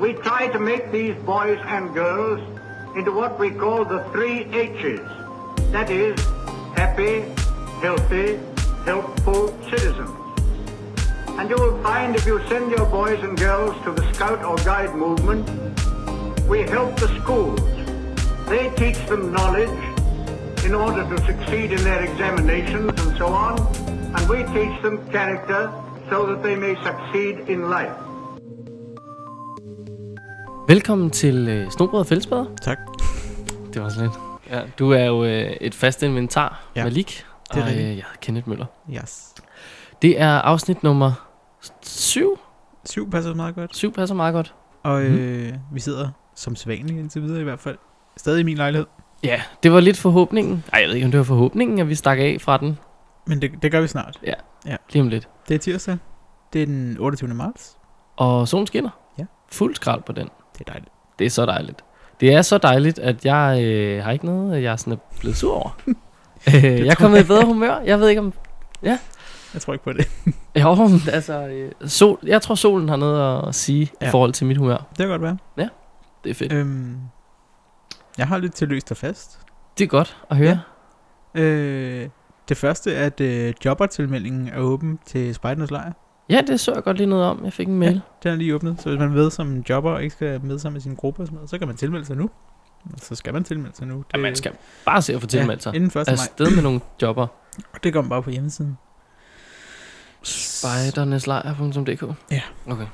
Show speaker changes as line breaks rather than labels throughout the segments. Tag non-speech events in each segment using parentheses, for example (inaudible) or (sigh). we try to make these boys and girls into what we call the three H's. That is, happy, healthy, helpful citizens. And you will find if you send your boys and girls to the Scout or Guide movement, we help the schools. They teach them knowledge in order to succeed in their examinations and so on, and we teach them character so that they may succeed in life.
Velkommen til øh, Snobrød og Fællesbader.
Tak.
Det var sådan lidt. Ja, du er jo øh, et fast inventar, ja.
Ja,
Malik.
det er
og,
rigtigt.
øh, jeg er Kenneth Møller.
Yes.
Det er afsnit nummer 7.
Syv passer meget godt.
7 passer meget godt.
Og øh, vi sidder som sædvanligt indtil videre i hvert fald. Stadig i min lejlighed.
Ja, det var lidt forhåbningen. Ej, jeg ved ikke, om det var forhåbningen, at vi stak af fra den
Men det, det gør vi snart.
lige om lidt.
Det er tirsdag. Det er den 28. marts.
Og solen skinner.
Ja.
Fuld skrald på den.
Det er dejligt.
Det er så dejligt. Det er så dejligt, at jeg øh, har ikke noget, jeg er sådan er blevet sur (laughs) over. øh, jeg er kommet i bedre humør. Jeg ved ikke, om
Jeg tror ikke på det. (laughs)
Jo, (laughs) men altså, øh, sol, jeg tror solen har noget at sige ja. i
Ja.
forhold til mit humør.
Det kan godt være.
Det er fedt.
Øhm, jeg har lidt til løst og fast.
Det er godt at høre. Ja.
Ja. Øh, det første er, at øh, jobbertilmeldingen er åben til Spejdernes Lejr.
ja, det så jeg godt lige noget om. Jeg fik en mail.
Den er lige åbnet, så hvis man ved som jobber og ikke skal med sammen med sin gruppe og sådan noget, så kan man tilmelde sig nu. Så skal man tilmelde sig nu. Det,
Ja, man skal bare se at få tilmeldt sig.
inden 1.
Ja,
maj.
Afsted med nogle (clears throat) jobber.
Og det går man bare på hjemmesiden.
Spejderneslejr.dk
Ja.
Okay,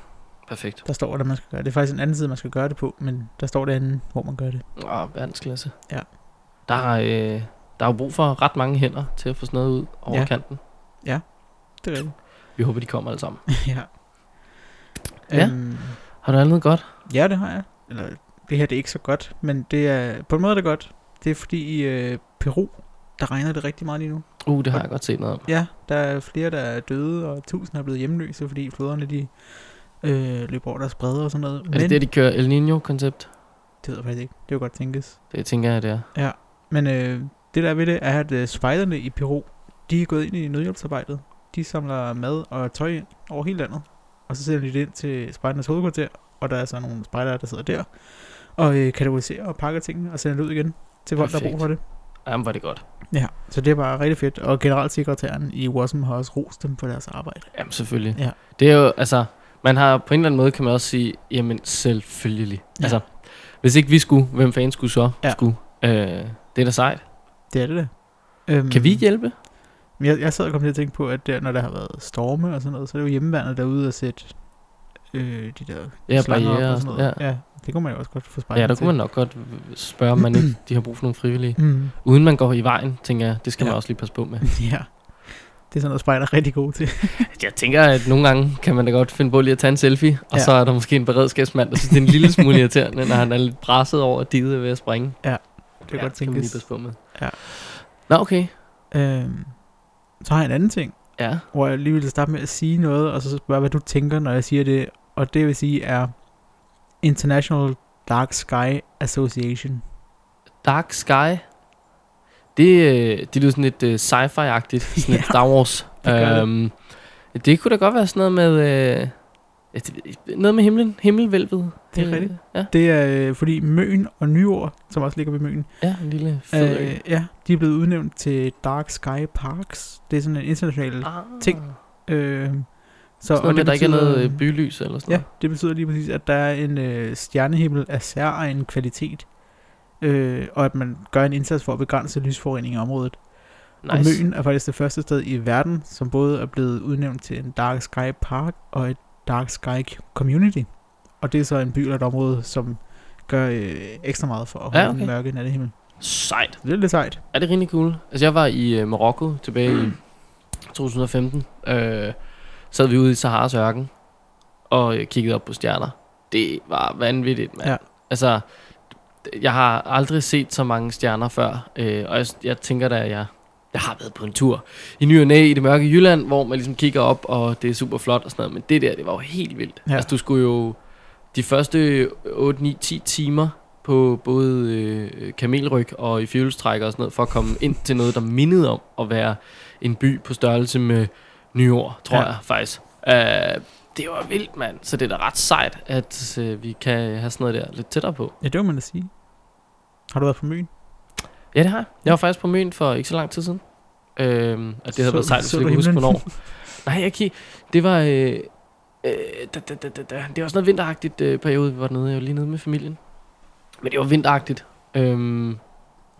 perfekt.
Der står, at man skal gøre det. Det er faktisk en anden side, man skal gøre det på, men der står det andet, hvor man gør det.
Åh, verdensklasse.
Ja.
Der er, øh, der er jo brug for ret mange hænder til at få sådan noget ud over ja.
Ja.
kanten.
Det er rigtigt.
Vi håber, de kommer alle sammen.
(laughs) ja.
Ja.
Øhm,
Har du andet godt?
ja, det har jeg. Eller, det her det er ikke så godt, men det er på en måde er det godt. Det er fordi i øh, Peru, der regner det rigtig meget lige nu.
Uh, det har jeg godt set noget om.
Ja, der er flere, der er døde, og tusinder er blevet hjemløse, fordi floderne de øh, løber over deres bredder og sådan noget.
Er det det, de kører El Niño-koncept?
det ved jeg faktisk ikke. Det kan godt tænkes.
Det tænker jeg, det er.
Men øh, det der er ved det, er, at øh, spejderne i Peru, de er gået ind i nødhjælpsarbejdet. De samler mad og tøj ind over hele landet. Og så sender de det ind til spejdernes hovedkvarter, og der er så nogle spejdere, der sidder der. Og øh, kategoriserer og pakker tingene og sender det ud igen til folk, der
Perfekt.
har brug for det.
Jamen, var det godt.
Ja, så det er bare rigtig fedt. Og generalsekretæren i WASM har også rost dem for deres arbejde.
Jamen selvfølgelig.
Ja.
Det er jo, altså, man har på en eller anden måde, kan man også sige, jamen selvfølgelig. Ja.
Ja.
Altså, hvis ikke vi skulle, hvem fanden skulle så ja.
Ja.
skulle? Øh, det er da sejt.
Det er det der. Øhm,
Kan vi hjælpe?
Men Jeg, jeg sad og kom til at tænke på, at der, når der har været storme og sådan noget, så er det jo hjemmeværnet derude og sætte øh, de der
Ja,
slanger op
barrierer og
og sådan noget.
sådan-
Ja. ja, det kunne man jo også godt få spejlet
Ja, der kunne man nok godt spørge, om man ikke de har brug for nogle frivillige.
Mm, (laughs)
Uden man går i vejen, tænker jeg, det skal ja.
Ja.
man også lige passe på med.
ja. Det er sådan noget, spejder er rigtig god til.
(laughs) Jeg tænker, at nogle gange kan man da godt finde på lige at tage en selfie, og
Ja.
så er der måske en beredskabsmand, der synes, det er en lille smule irriterende, når han er lidt presset over, at diget er ved at springe.
Det kan
ja,
godt
det kan man lige
tænkes.
passe på med.
Ja.
Nå, okay.
Øhm, så har jeg en anden ting,
Ja.
hvor jeg lige vil starte med at sige noget, og så spørge, hvad du tænker, når jeg siger det. Og det vil sige er International Dark Sky Association.
Dark Sky. Det, øh, det lyder sådan lidt øh, sci-fi-agtigt. Sådan lidt
(laughs) Ja,
Star Wars.
det gør det.
øhm, det. det kunne da godt være sådan noget med... Øh, et- et- noget med himlen. Himmelvælvet.
Det er
Øh,
rigtigt.
Ja,
Det er øh, fordi Møn og Nyord, som også ligger ved Møn,
ja en lille fed øh,
Øh, ja, de er blevet udnævnt til Dark Sky Parks. Det er sådan en international...
ah,
ting.
Sådan
Øh, så,
noget med, at der ikke er
betyder-
noget øh, bylys eller sådan
Ja, det betyder lige præcis, at der er en øh, stjernehimmel af særegen kvalitet. Øh, og at man gør en indsats for at begrænse lysforurening i området.
noget.
Og Møn er faktisk det første sted i verden, som både er blevet udnævnt til en Dark Sky Park og et Dark Sky Community. Og det er så en by eller et område, som gør øh, ekstra meget for at
Ja,
holde ja, okay. den
okay.
mørke nattehimmel.
Sejt.
Så det er lidt sejt.
Er det rigtig cool? Altså, jeg var i øh, Marokko tilbage i 2015. Øh, sad vi ude i Saharas ørken og øh, kiggede op på stjerner. Det var vanvittigt, mand.
Ja.
Altså, jeg har aldrig set så mange stjerner før, øh, og jeg, jeg tænker da, at jeg, jeg har været på en tur i ny og næ i det mørke Jylland, hvor man ligesom kigger op, og det er super flot og sådan noget, men det der, det var jo helt vildt. Ja.
Ja.
Altså, du skulle jo de første 8, 9, 10 timer på både øh, kamelryg og i fjølstrækker og sådan noget, for at komme ind til noget, der mindede om at være en by på størrelse med Nyår, tror ja.
Ja.
jeg faktisk. Øh, det var vildt, mand. Så det er da ret sejt, at øh, vi kan have sådan noget der lidt tættere på.
Ja, det må man da sige. Har du været på Møn?
Ja, det har jeg. Jeg var faktisk på Møn for ikke så lang tid siden. Øhm, og det havde
Så-
været sejt, hvis
så
jeg kunne
du
huske,
himlen?
hvornår. Nej, jeg kan Det var... Øh, øh, da, da, da, da, da. Det var sådan noget vinteragtigt øh, periode, vi var nede. Jeg var lige nede med familien. Men det var vinteragtigt. Øhm,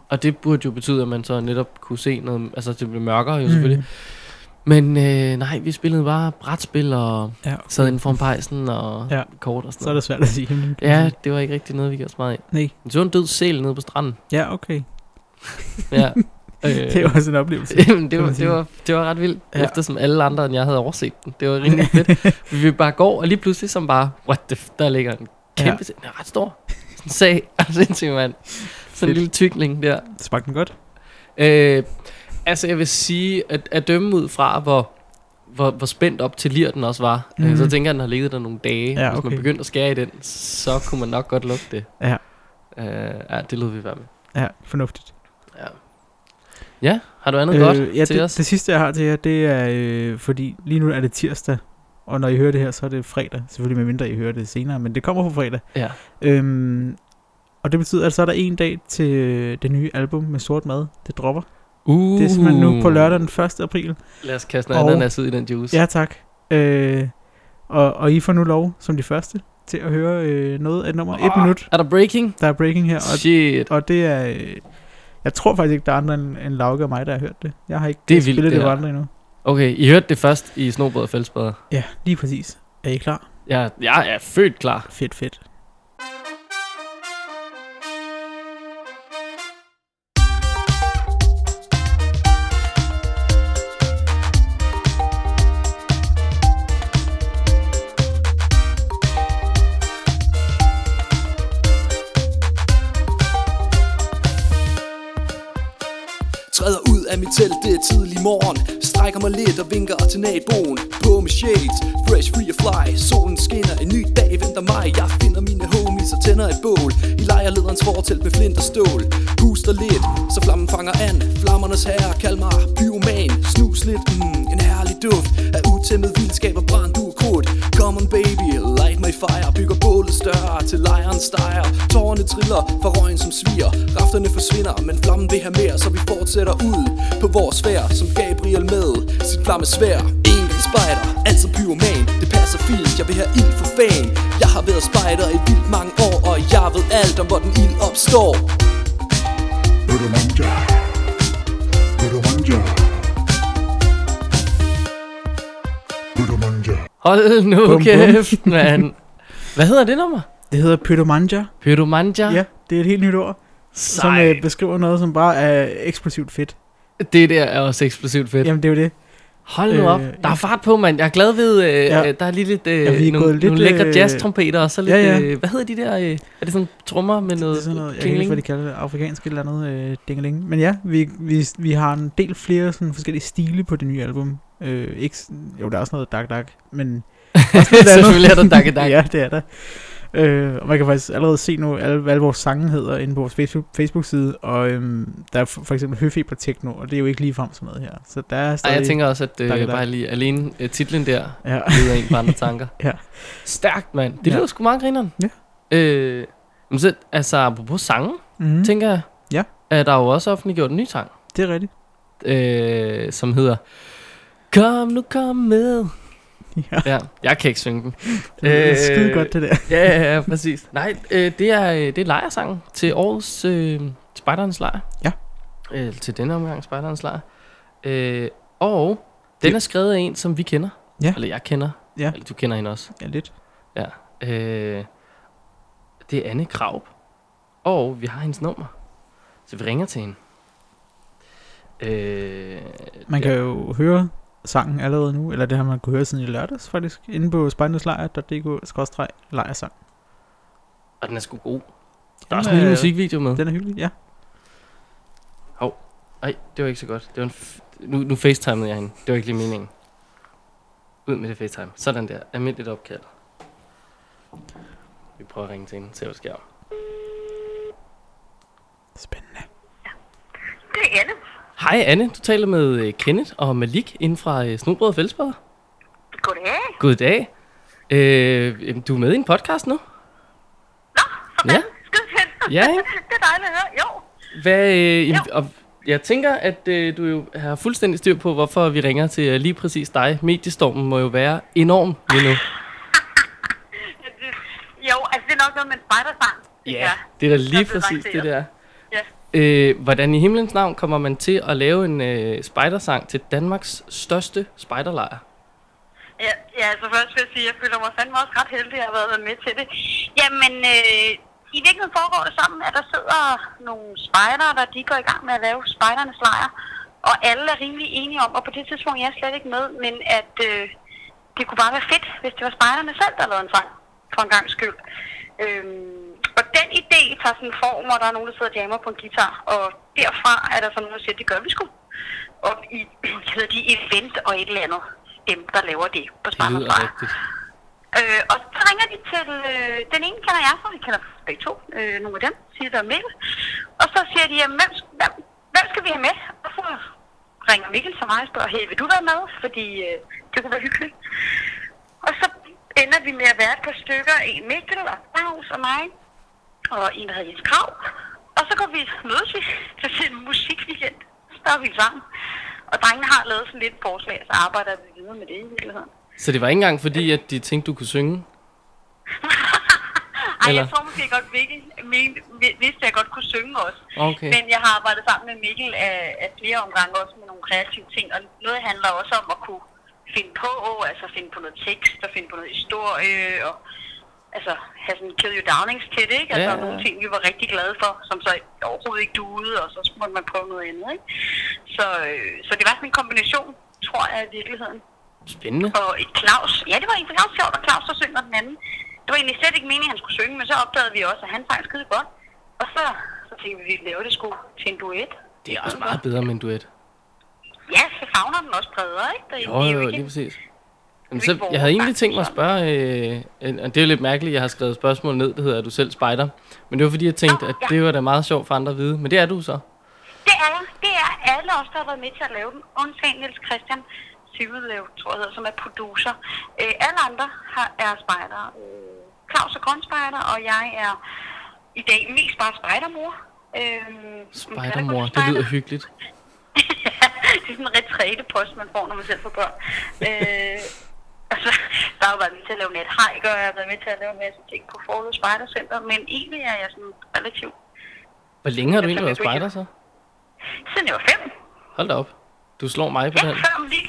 og det burde jo betyde, at man så netop kunne se noget... Altså, det blev mørkere
Mm.
jo selvfølgelig. Men øh, nej, vi spillede bare brætspil og
Ja,
sad inden foran pejsen og
Mm. Ja.
ja. kort og sådan
så er det svært at sige himlen. kan man
Ja,
sige.
det var ikke rigtig noget, vi gjorde så meget af.
Nej.
Men så var en død sæl nede på stranden.
Ja, okay.
Ja. øh,
(laughs) Det er jo også en oplevelse.
(laughs) Jamen, det,
kan
var,
man sige.
det, var, det var ret vildt,
Ja.
ja. eftersom alle andre end jeg havde overset den. Det var rimelig
(laughs)
fedt. Vi bare går, og lige pludselig som bare, what the f- der ligger en kæmpe, ja. den er ret stor. Sådan en sag, (laughs) altså sindssygt mand. Sådan en
Fedt.
lille tykling der.
Smagte den godt?
Øh, altså jeg vil sige, at, at dømme ud fra, hvor, hvor, hvor spændt op til lir den også var, mm.
Mhm.
øh, så tænker jeg, at den har ligget der nogle dage.
Ja,
Hvis
okay.
man begyndte at skære i den, så kunne man nok godt lukke det.
Ja.
Øh, ja, det lød vi være med.
Ja, fornuftigt.
Ja. ja, har du andet øh, godt
ja,
til
det,
os?
det sidste, jeg har til jer, det er, øh, fordi lige nu er det tirsdag, og når I hører det her, så er det fredag. Selvfølgelig med mindre I hører det senere, men det kommer på fredag.
Ja.
Øhm, og det betyder, at så er der en dag til øh, det nye album med sort mad. Det dropper.
Uh.
Det er simpelthen nu på lørdag den 1. april.
Lad os kaste noget
Og-
og... ananas ud i den juice.
Ja, tak. Øh, og, og I får nu lov, som de første, til at høre øh, noget af et nummer. Et
Ah,
minut,
Er der breaking?
der er breaking her. Og,
Shit.
og det er... Øh, jeg tror faktisk ikke, der er andre end, end Lauke og mig, der har hørt det. Jeg har ikke
Det er vildt,
spillet
det
det, det
her.
andre endnu.
Okay, I hørte det først i Snobrød og Fællesbader.
Ja, lige præcis. Er I klar?
Jeg, jeg er født klar.
Fedt, fedt.
Træder ud af mit telt, det er tidlig morgen Strækker mig lidt og vinker til naboen På med shades, fresh free of fly Solen skinner, en ny dag venter mig Jeg finder mine homies og tænder et bål I lejerlederens fortelt med flint og stål Puster lidt, så flammen fanger an Flammernes herre, kald mig pyroman Snus lidt, mm, en herlig duft Af utæmmet vildskab og brændt ukrudt Come on baby, light my fire Bygger bålet større til lejren steger Tårerne triller fra røgen som sviger Rafterne forsvinder, men flammen vil have mere Så vi fortsætter ud på vores færd Som Gabriel med sit flamme svær En gang spejder, altid pyroman Det passer fint, jeg vil have ild for fan Jeg har været spejder i vildt mange år Og jeg ved alt om, hvor den ild opstår
Budomanja. Budomanja. Budomanja.
Hold nu
Bum, bum.
bum, kæft, mand. Hvad hedder det nummer?
Det hedder pytomanja.
Pyromantia?
Ja, det er et helt nyt ord, som
Sejt.
øh, beskriver noget, som bare er eksplosivt fedt.
Det der er også eksplosivt fedt.
Jamen, det er jo det.
Hold nu
øh,
op. Der er fart på, mand. Jeg er glad ved, øh,
Ja.
ja. der er lige lidt,
Ja, vi er
øh,
gået
nogle,
lidt,
lidt, nogle lækre
øh,
jazz-trompeter, og så lidt,
ja, ja.
Øh, hvad hedder de der, øh, er det sådan trommer med
Det
noget,
er sådan noget, jeg kan ikke
klingling?
huske, hvad de kalder det, afrikansk et eller andet øh, dingeling. Men ja, vi, vi, vi har en del flere sådan, forskellige stile på det nye album. Øh, ikke, sådan- jo, der er også noget dak dak,
(laughs)
men... også lidt andet.
Selvfølgelig er der dak dak.
(laughs) ja, det er der. Øh, og man kan faktisk allerede se nu, alle, hvad alle vores sange hedder inde på vores Facebook- Facebook-side, og øhm, der er for, for eksempel Høfeber Techno, og det er jo ikke ligefrem sådan noget her. Så der er stadig...
Ej, jeg tænker også, at øh,
Dak dak.
bare lige alene øh, titlen der,
Ja.
leder en på andre tanker.
Ja.
Stærkt, mand. Det
Ja.
lyder sgu meget grineren.
Ja.
Øh, men så, altså, apropos sange, mm.
Mm-hmm.
tænker jeg,
Ja.
er der jo også offentliggjort en ny sang,
Det er rigtigt. (laughs)
øh, som hedder Kom nu, kom med.
Ja,
Ja, jeg kan ikke synge den.
(laughs) det
Øh,
er skide godt det der.
Ja, ja, ja, præcis. Nej, øh, det er, øh, det er lejersangen til årets øh, Spejderens Lejr.
Ja.
Øh, til denne omgang Spejderens Lejr. Øh, og den er skrevet af en, som vi kender.
Ja.
Eller jeg kender.
Ja.
Eller du kender hende også.
Ja, lidt.
Øh, det er Anne Kraup. Og vi har hendes nummer. Så vi ringer til hende. Øh,
Man kan jo høre sangen allerede nu, eller det har man kunne høre siden i lørdags faktisk, inde på spejndelslejr.dk-lejersang.
Og den er sgu god. Der er
Jamen,
også en lille
øh,
musikvideo med.
Den er hyggelig, ja.
Nej, det var ikke så godt. Det var en f- nu, nu facetimede jeg hende. Det var ikke lige meningen. Ud med det facetime. Sådan der. Almindeligt opkald. Vi prøver at ringe til hende. Se, hvad der sker.
Spændende.
Det er Anne.
Hej Anne, du taler med øh, Kenneth og Malik inden fra øh, Snobrød og Fællesbader.
Goddag.
Goddag. Øh, jamen, du er med i en podcast nu?
Nå, sådan.
Ja.
Skide fedt.
Ja, ikke?
det er dejligt at høre. Jo.
Hvad, øh, jamen,
Jo.
og jeg tænker, at øh, du jo har fuldstændig styr på, hvorfor vi ringer til øh, lige præcis dig. Mediestormen må jo være enorm lige nu.
Jo, altså det er nok noget med en spejderfang. det
Ja,
gør.
det er da lige
Jeg blev
præcis det,
lanceret.
der.
Ja.
Øh, hvordan i himlens navn kommer man til at lave en øh, spejdersang til Danmarks største spejderlejr?
Ja, ja, altså først vil jeg sige, at jeg føler mig fandme også ret heldig at have været med til det. Jamen, øh, i virkeligheden foregår det sammen, at der sidder nogle spejdere, der de går i gang med at lave spejdernes lejr. Og alle er rimelig enige om, og på det tidspunkt jeg er jeg slet ikke med, men at øh, det kunne bare være fedt, hvis det var spejderne selv, der lavede en sang, for en gang skyld. Øhm, og den idé tager sådan en form, og der er nogen, der sidder og jammer på en guitar, og derfra er der så nogen, der siger, det gør vi sgu. Og i, (clears throat) hedder de event og et eller andet, dem der laver det på
Det
Sparta
lyder rigtigt.
Øh, og så ringer de til, øh, den ene kender jeg, så vi kender begge to, øh, nogle af dem, siger der er Mikkel. Og så siger de, jamen, hvem, hvem, hvem skal vi have med? Og så ringer Mikkel til mig og spørger, hey, vil du være med? Fordi øh, det kunne være hyggeligt. Og så ender vi med at være et par stykker, en Mikkel og Claus og mig, og en, der hedder Jens Krav. Og så går vi, mødes vi til (laughs) sådan en musikweekend, så står vi sammen. Og drengene har lavet sådan lidt forslag, så arbejder vi videre med det i virkeligheden.
Så det var ikke engang fordi, at de tænkte, du kunne synge?
Ej,
Eller?
jeg tror måske godt, Mikkel men- vi- vidste, at jeg godt kunne synge også.
Okay.
Men jeg har arbejdet sammen med Mikkel af, af flere omgange også med nogle kreative ting, og noget handler også om at kunne finde på, altså finde på noget tekst og finde på noget historie, og altså have sådan kill you downings til det, ikke? Altså
Ja, ja.
ja. nogle ting, vi var rigtig glade for, som så overhovedet ikke duede, og så måtte man prøve noget andet, ikke? Så, øh, så det var sådan en kombination, tror jeg, i virkeligheden.
Spændende.
Og et Claus. Ja, det var egentlig også sjovt, at Claus så synger den anden. Det var egentlig slet ikke meningen, at han skulle synge, men så opdagede vi også, at han sang skide godt. Og så, så tænkte vi, at vi laver det sgu til en duet.
Det er også meget bedre med en duet.
Ja, så favner den også bredere, ikke? Det,
Jo, jo,
ikke-
lige præcis. Jamen,
ikke
så,
vores
jeg havde egentlig
sang,
tænkt mig at
så.
spørge, øh, en- og det er jo lidt mærkeligt, jeg har skrevet spørgsmål ned, det hedder, er du selv spejder? Men det var fordi, jeg tænkte,
Nå,
at
ja.
det var da meget sjovt for andre at vide, men det er du så.
det er jeg. Det er alle os, der har været med til at lave den. Undtagen Niels Christian Sivudlev, tror jeg hedder, som er producer. Øh, alle andre har, er spejdere. Øh, Claus er grønspejder, og jeg er i dag mest bare spejdermor. Øh,
Spejdermor, det lyder hyggeligt.
Ja, det er sådan en retrætepost, man får, når man selv får børn. øh, altså, der har jo været med til at lave nethajk, og jeg har været med til at lave en masse ting på Forløs Spejdercenter, men egentlig er jeg sådan relativt,
Hvor længe har du
Jeg
egentlig været
tænker,
spejder
du
så?
siden jeg var fem,
Hold da op. Du slår mig på
ja,
den.
før, mik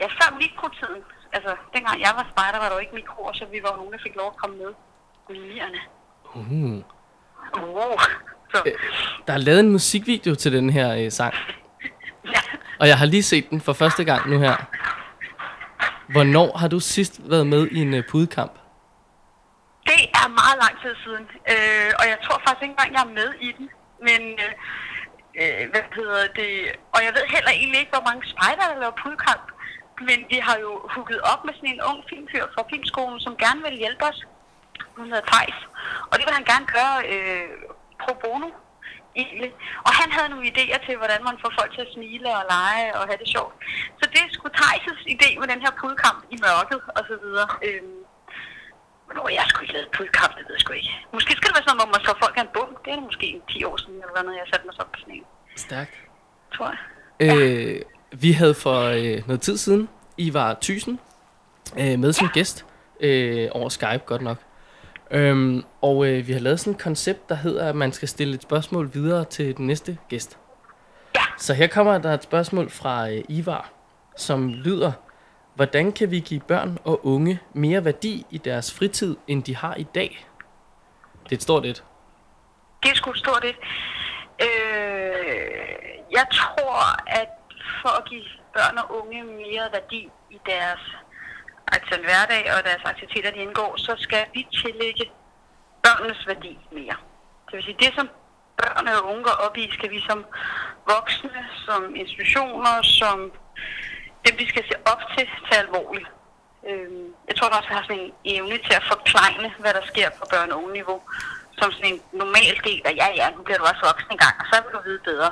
ja, før mikrotiden, altså dengang jeg var spejder, var der jo ikke mikroer, så vi var jo nogen, der fik lov at komme med i nierne.
Uh.
Wow. Så,
Øh, Der er lavet en musikvideo til den her øh, sang,
ja.
og jeg har lige set den for første gang nu her. Hvornår har du sidst været med i en øh, pudekamp?
Det er meget lang tid siden, øh, og jeg tror faktisk ikke engang, jeg er med i den. Men, øh, øh, hvad hedder det? Og jeg ved heller egentlig ikke, hvor mange spejder, der laver pudkamp. Men vi har jo hooket op med sådan en ung filmfyr fra Filmskolen, som gerne vil hjælpe os. Hun hedder Thijs, og det vil han gerne gøre øh, pro bono. Egentlig. Og han havde nogle idéer til, hvordan man får folk til at smile og lege og have det sjovt. Så det skulle Thijs' idé med den her pudkamp i mørket og så videre. Øhm, Nå, jeg har sgu ikke lavet pudkamp, det ved jeg sgu ikke. Måske skal det være sådan noget, hvor man slår folk af en bum. Det er det måske en 10 år siden, eller noget, jeg satte mig så på sådan en,
Stærkt.
tror jeg.
Øh, vi havde for øh, noget tid siden Ivar Thyssen øh, med som gæst øh, over Skype, godt nok. Øhm, og øh, vi har lavet sådan et koncept, der hedder, at man skal stille et spørgsmål videre til den næste gæst. Så her kommer der et spørgsmål fra øh, Ivar, som lyder, hvordan kan vi give børn og unge mere værdi i deres fritid, end de har i dag? Det er et stort et.
Det er sgu stort det. Øh, jeg tror, at for at give børn og unge mere værdi i deres altså hverdag og deres aktiviteter, de indgår, så skal vi tillægge børnenes værdi mere. Det vil sige, det som børn og unge går op i, skal vi som voksne, som institutioner, som dem, vi skal se op til, tage alvorligt. Øhm, jeg tror, der også har sådan en evne til at forklejne, hvad der sker på børne- og unge-niveau, som sådan en normal del af, ja, ja, nu bliver du også voksen engang, og så vil du vide bedre.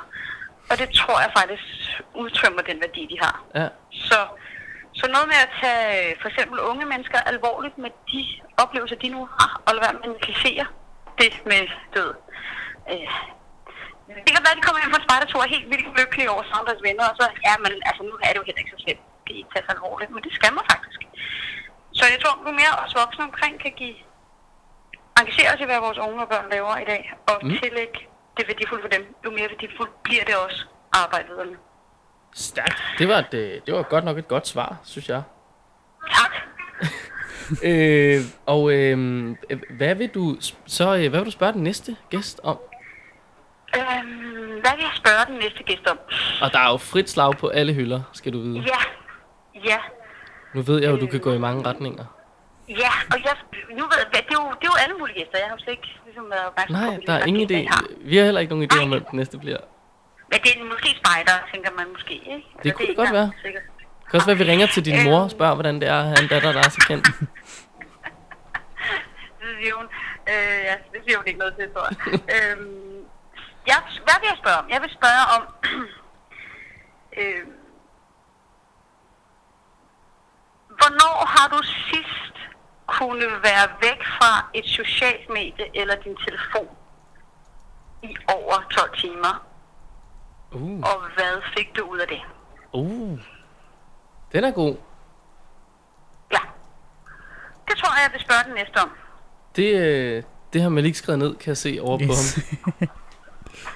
Og det tror jeg faktisk udtømmer den værdi, de har.
Ja.
Så Så noget med at tage øh, for eksempel unge mennesker alvorligt med de oplevelser, de nu har, og lade være med at negligere det med død. Øh, det kan være, at de kommer hjem fra en spejdertur og er helt vildt lykkelige over sammen deres venner, og så, ja, men altså, nu er det jo heller ikke så slemt. Det er ikke taget så alvorligt, men det skal man faktisk. Så jeg tror, nu mere os voksne omkring kan give engagere os i, hvad vores unge og børn laver i dag, og mm. tillægge det værdifulde for dem, jo mere værdifuldt bliver det også arbejde videre med.
Stærkt. Det var, et, øh, det var godt nok et godt svar, synes jeg.
Tak.
Øh, og øh, hvad vil du s- så øh, hvad vil du spørge den næste gæst om?
Øhm, hvad vil jeg spørge den næste gæst om?
Og der er jo frit slag på alle hylder, skal du vide.
Ja, ja,
Nu ved jeg jo, du kan gå i mange retninger.
ja. Og jeg, nu ved jeg, hvad- det er, jo, det er jo alle mulige gæster. Jeg har jo slet ikke ligesom, været opmærksom på,
Nej,
hvilke
der er ingen
gæster jeg har.
idé. Vi har heller ikke nogen idé om, hvem den næste bliver.
Men det er måske spejder, tænker man måske, ikke? Eller
kunne det
er
godt
ikke
være.
engang sikkert.
Det kan også være, at vi ringer til din
Øhm.
mor og spørger, hvordan det er at have en datter, der er så kendt.
Det siger hun. Øh, ja, det siger hun ikke noget til, tror jeg. øhm, jeg. Hvad vil jeg spørge om? Jeg vil spørge om... (clears throat) øh, hvornår har du sidst kunne være væk fra et socialt medie eller din telefon i over 12 timer?
(laughs) Uh,
Og hvad fik du ud af det?
uh. Den er god.
Ja. Det tror jeg, jeg vil spørge den næste om.
Det, øh, det har man ikke skrevet ned, kan jeg se over yes. på ham.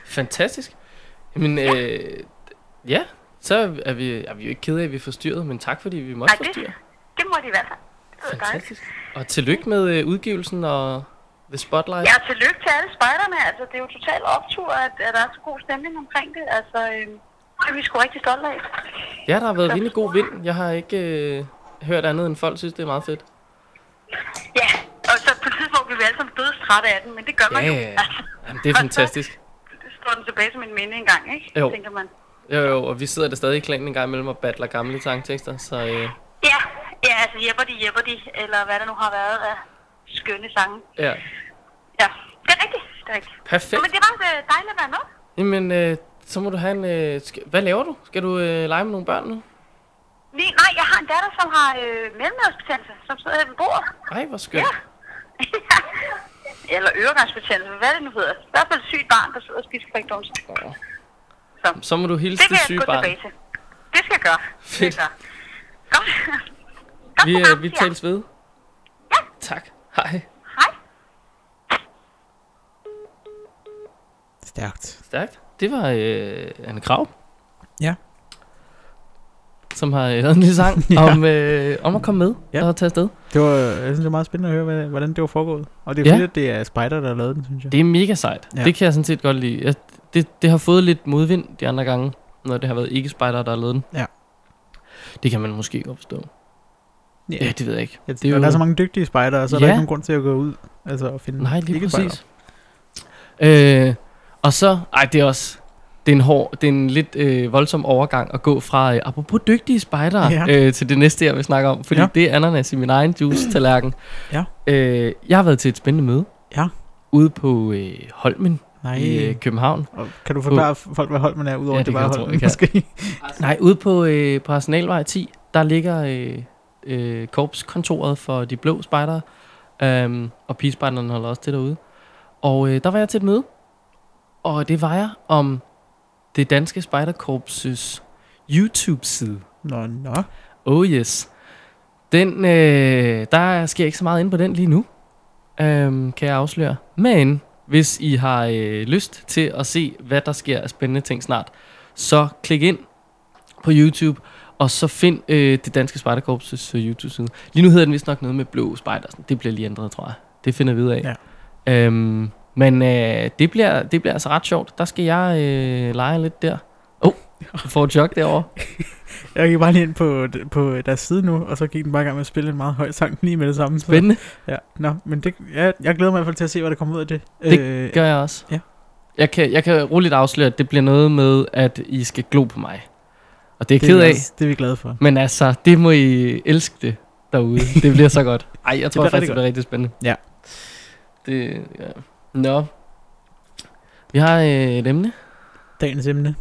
Fantastisk. Jamen, øh, ja, så er vi, er vi jo ikke kede af, at vi er forstyrret, men tak fordi vi måtte
Ej, det,
forstyrre.
det må de i hvert fald. Det var dejligt.
Fantastisk. Og tillykke med øh, udgivelsen og The Spotlight.
Ja, tillykke til alle spejderne. Altså, det er jo totalt optur, at, at der er så god stemning omkring det. Altså, øh, det er vi sgu rigtig stolte af.
Ja, der har været rimelig god vind. Jeg har ikke øh, hørt andet end folk synes, det er meget fedt.
Ja, og så på et tidspunkt bliver vi alle sammen dødstrætte af den, men det gør man
Ja,
jo.
ja, ja.
Altså,
Jamen, det er fantastisk.
så står den tilbage som en minde engang, ikke?
Jo.
Tænker man.
Jo, jo, og vi sidder der stadig i klanen en gang imellem og battler gamle sangtekster, så øh,
Ja, ja, altså jepper de, jepper de, eller hvad der nu har været af skønne sange.
ja,
Ja, det er rigtigt. Det er rigtigt. Nå, men
perfekt.
det var øh, dejligt at være med.
Jamen, øh, så må du have en... Øh, sk- hvad laver du? Skal du øh, lege med nogle børn nu?
Nej, nej, jeg har en datter, som har øh, mellemørsbetændelse, som sidder her ved bordet.
Ej, hvor skønt.
Ja. (laughs) Eller øregangsbetændelse, hvad det nu hedder. I hvert fald et sygt barn, der sidder og spiser frikdons.
Åh.
Så
Så må du hilse
det
til
vil jeg
syge
gå
barn.
tilbage til. Det skal jeg gøre. Det skal
Fedt.
jeg gøre. Godt. Godt
Vi,
program,
øh, vi
siger jeg.
tales ved.
Ja.
Tak. Hej.
Hej.
(laughs) Stærkt.
Stærkt. Det var øh, Anne Krav.
Ja.
Som har øh, lavet en lille sang
(laughs) Ja.
om, øh, om at komme med
Ja.
og tage afsted.
Det var, jeg synes, det var meget spændende at høre, hvad- hvordan det var foregået. Og det er
Ja.
ja. fedt, at det er Spider, der har lavet den, synes jeg.
Det er mega sejt. Ja.
Ja.
Det kan jeg sådan set godt lide. Jeg, det, det har fået lidt modvind de andre gange, når det har været ikke spejder der har lavet den.
Ja.
Det kan man måske godt forstå.
Ja.
Ja, det ved jeg ikke.
Ja,
det er
der,
jo-
der er så mange dygtige spejdere, så ja. er
Ja.
der ikke nogen grund til at gå ud altså, og finde
Nej, lige
ikke
præcis. Øh, og så, ej, det er også, det er en hård, det er en lidt øh, voldsom overgang at gå fra, øh, apropos dygtige spejdere, ja.
Ja.
øh, til det næste, jeg vil snakke om, fordi ja.
Ja.
det er ananas i min egen juice-tallerken.
Ja.
Øh, jeg har været til et spændende møde.
Ja.
Ude på øh, Holmen
Nej.
i øh, København.
Og kan du forklare f- folk, hvad hold man er, udover
Ja,
ja, det,
det
det bare
kan jeg tro,
hold,
jeg kan.
måske? (laughs)
Nej, ude på, øh, på Arsenalvej 10, der ligger øh, øh, korpskontoret for de blå spejdere, øhm, og pigespejderne holder også til derude. Og øh, der var jeg til et møde, og det var jeg om det danske spejderkorpses YouTube-side.
Nå, nå.
Oh yes. Den, øh, der sker ikke så meget inde på den lige nu, øhm, kan jeg afsløre. Men hvis I har øh, lyst til at se, hvad der sker af spændende ting snart, så klik ind på YouTube, og så find øh, det danske spejderkorps' YouTube-side. Lige nu hedder den vist nok noget med blå spejder. Det bliver lige ændret, tror jeg. Det finder vi ud af. Ja. Øhm, men øh, det, bliver, det bliver altså ret sjovt. Der skal jeg øh, lege lidt der. Åh, oh, jeg får et chok derovre.
Jeg gik bare lige ind på, på deres side nu, og så gik den bare i gang med at spille en meget høj sang lige med det samme. Så,
Spændende.
ja, nå, men det, ja, jeg glæder mig i hvert fald til at se, hvad der kommer ud af det.
Det
øh,
gør jeg også.
Ja.
Jeg kan, jeg kan roligt afsløre, at det bliver noget med, at I skal glo på mig. Og det er jeg
det, er
ked
vi
af,
også- det er vi glade for.
men altså, det må I elske det derude. Det bliver så
(laughs)
godt. Ej, jeg tror
bliver
det faktisk,
rigtig
det bliver rigtig spændende.
Ja.
Det, ja. Nå. Vi har øh, et emne.
Dagens emne.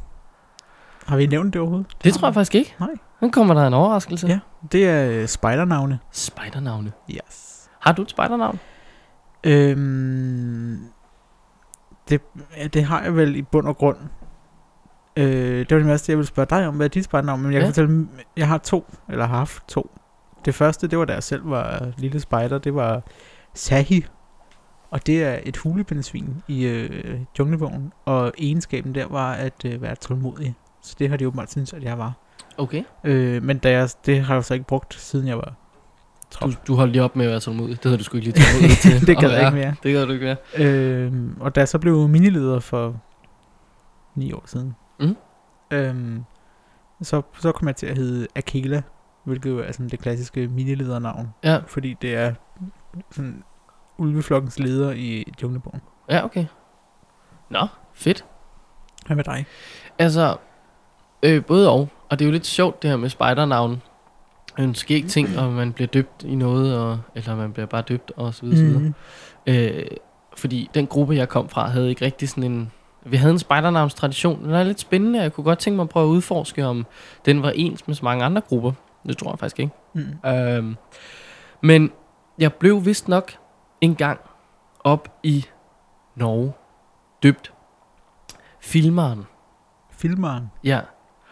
Har vi nævnt det overhovedet?
Det tror jeg faktisk ikke.
Nej.
Nu kommer der en overraskelse.
Ja. Det er øh, spejdernavne.
Spejdernavne.
Yes.
Har du et spejdernavn?
Øhm, det, ja, det har jeg vel i bund og grund. Øh, det var det meste, jeg ville spørge dig om, hvad er dit spejdernavn? Men jeg
Ja.
kan fortælle, jeg har to, eller har haft to. Det første, det var da jeg selv var lille spejder, det var Sahi. Og det er et hulebindesvin i øh, junglevognen, og egenskaben der var at øh, være tålmodig. Så det har de åbenbart synes at jeg var.
Okay.
Øh, men da jeg, det har jeg så ikke brugt, siden jeg var (laughs)
Du,
trop.
du holdt lige op med at være tålmodig. Det havde du sgu ikke lige
(laughs)
tålmodig til.
det
at
gad jeg
være.
ikke mere.
Det gad du ikke mere.
Øhm, og da jeg så blev minileder for ni år siden,
Mm.
øhm, så, så kom jeg til at hedde Akela, hvilket jo er sådan det klassiske miniledernavn,
Ja,
fordi det er sådan ulveflokkens leder i Junglebogen.
ja okay. Nå, fedt.
Hvad med dig?
Altså, øh, både og. Og det er jo lidt sjovt det her med spejdernavn. En skæg ting, om man bliver døbt i noget, og, eller man bliver bare døbt, og så videre. Mm. Øh, fordi den gruppe, jeg kom fra, havde ikke rigtig sådan en... Vi havde en spejdernavnstradition. Den er lidt spændende, og jeg kunne godt tænke mig at prøve at udforske, om den var ens med så mange andre grupper. Det tror jeg faktisk ikke.
Mm.
Øhm, men jeg blev vist nok en gang op i Norge døbt filmeren.
Filmeren.
Ja,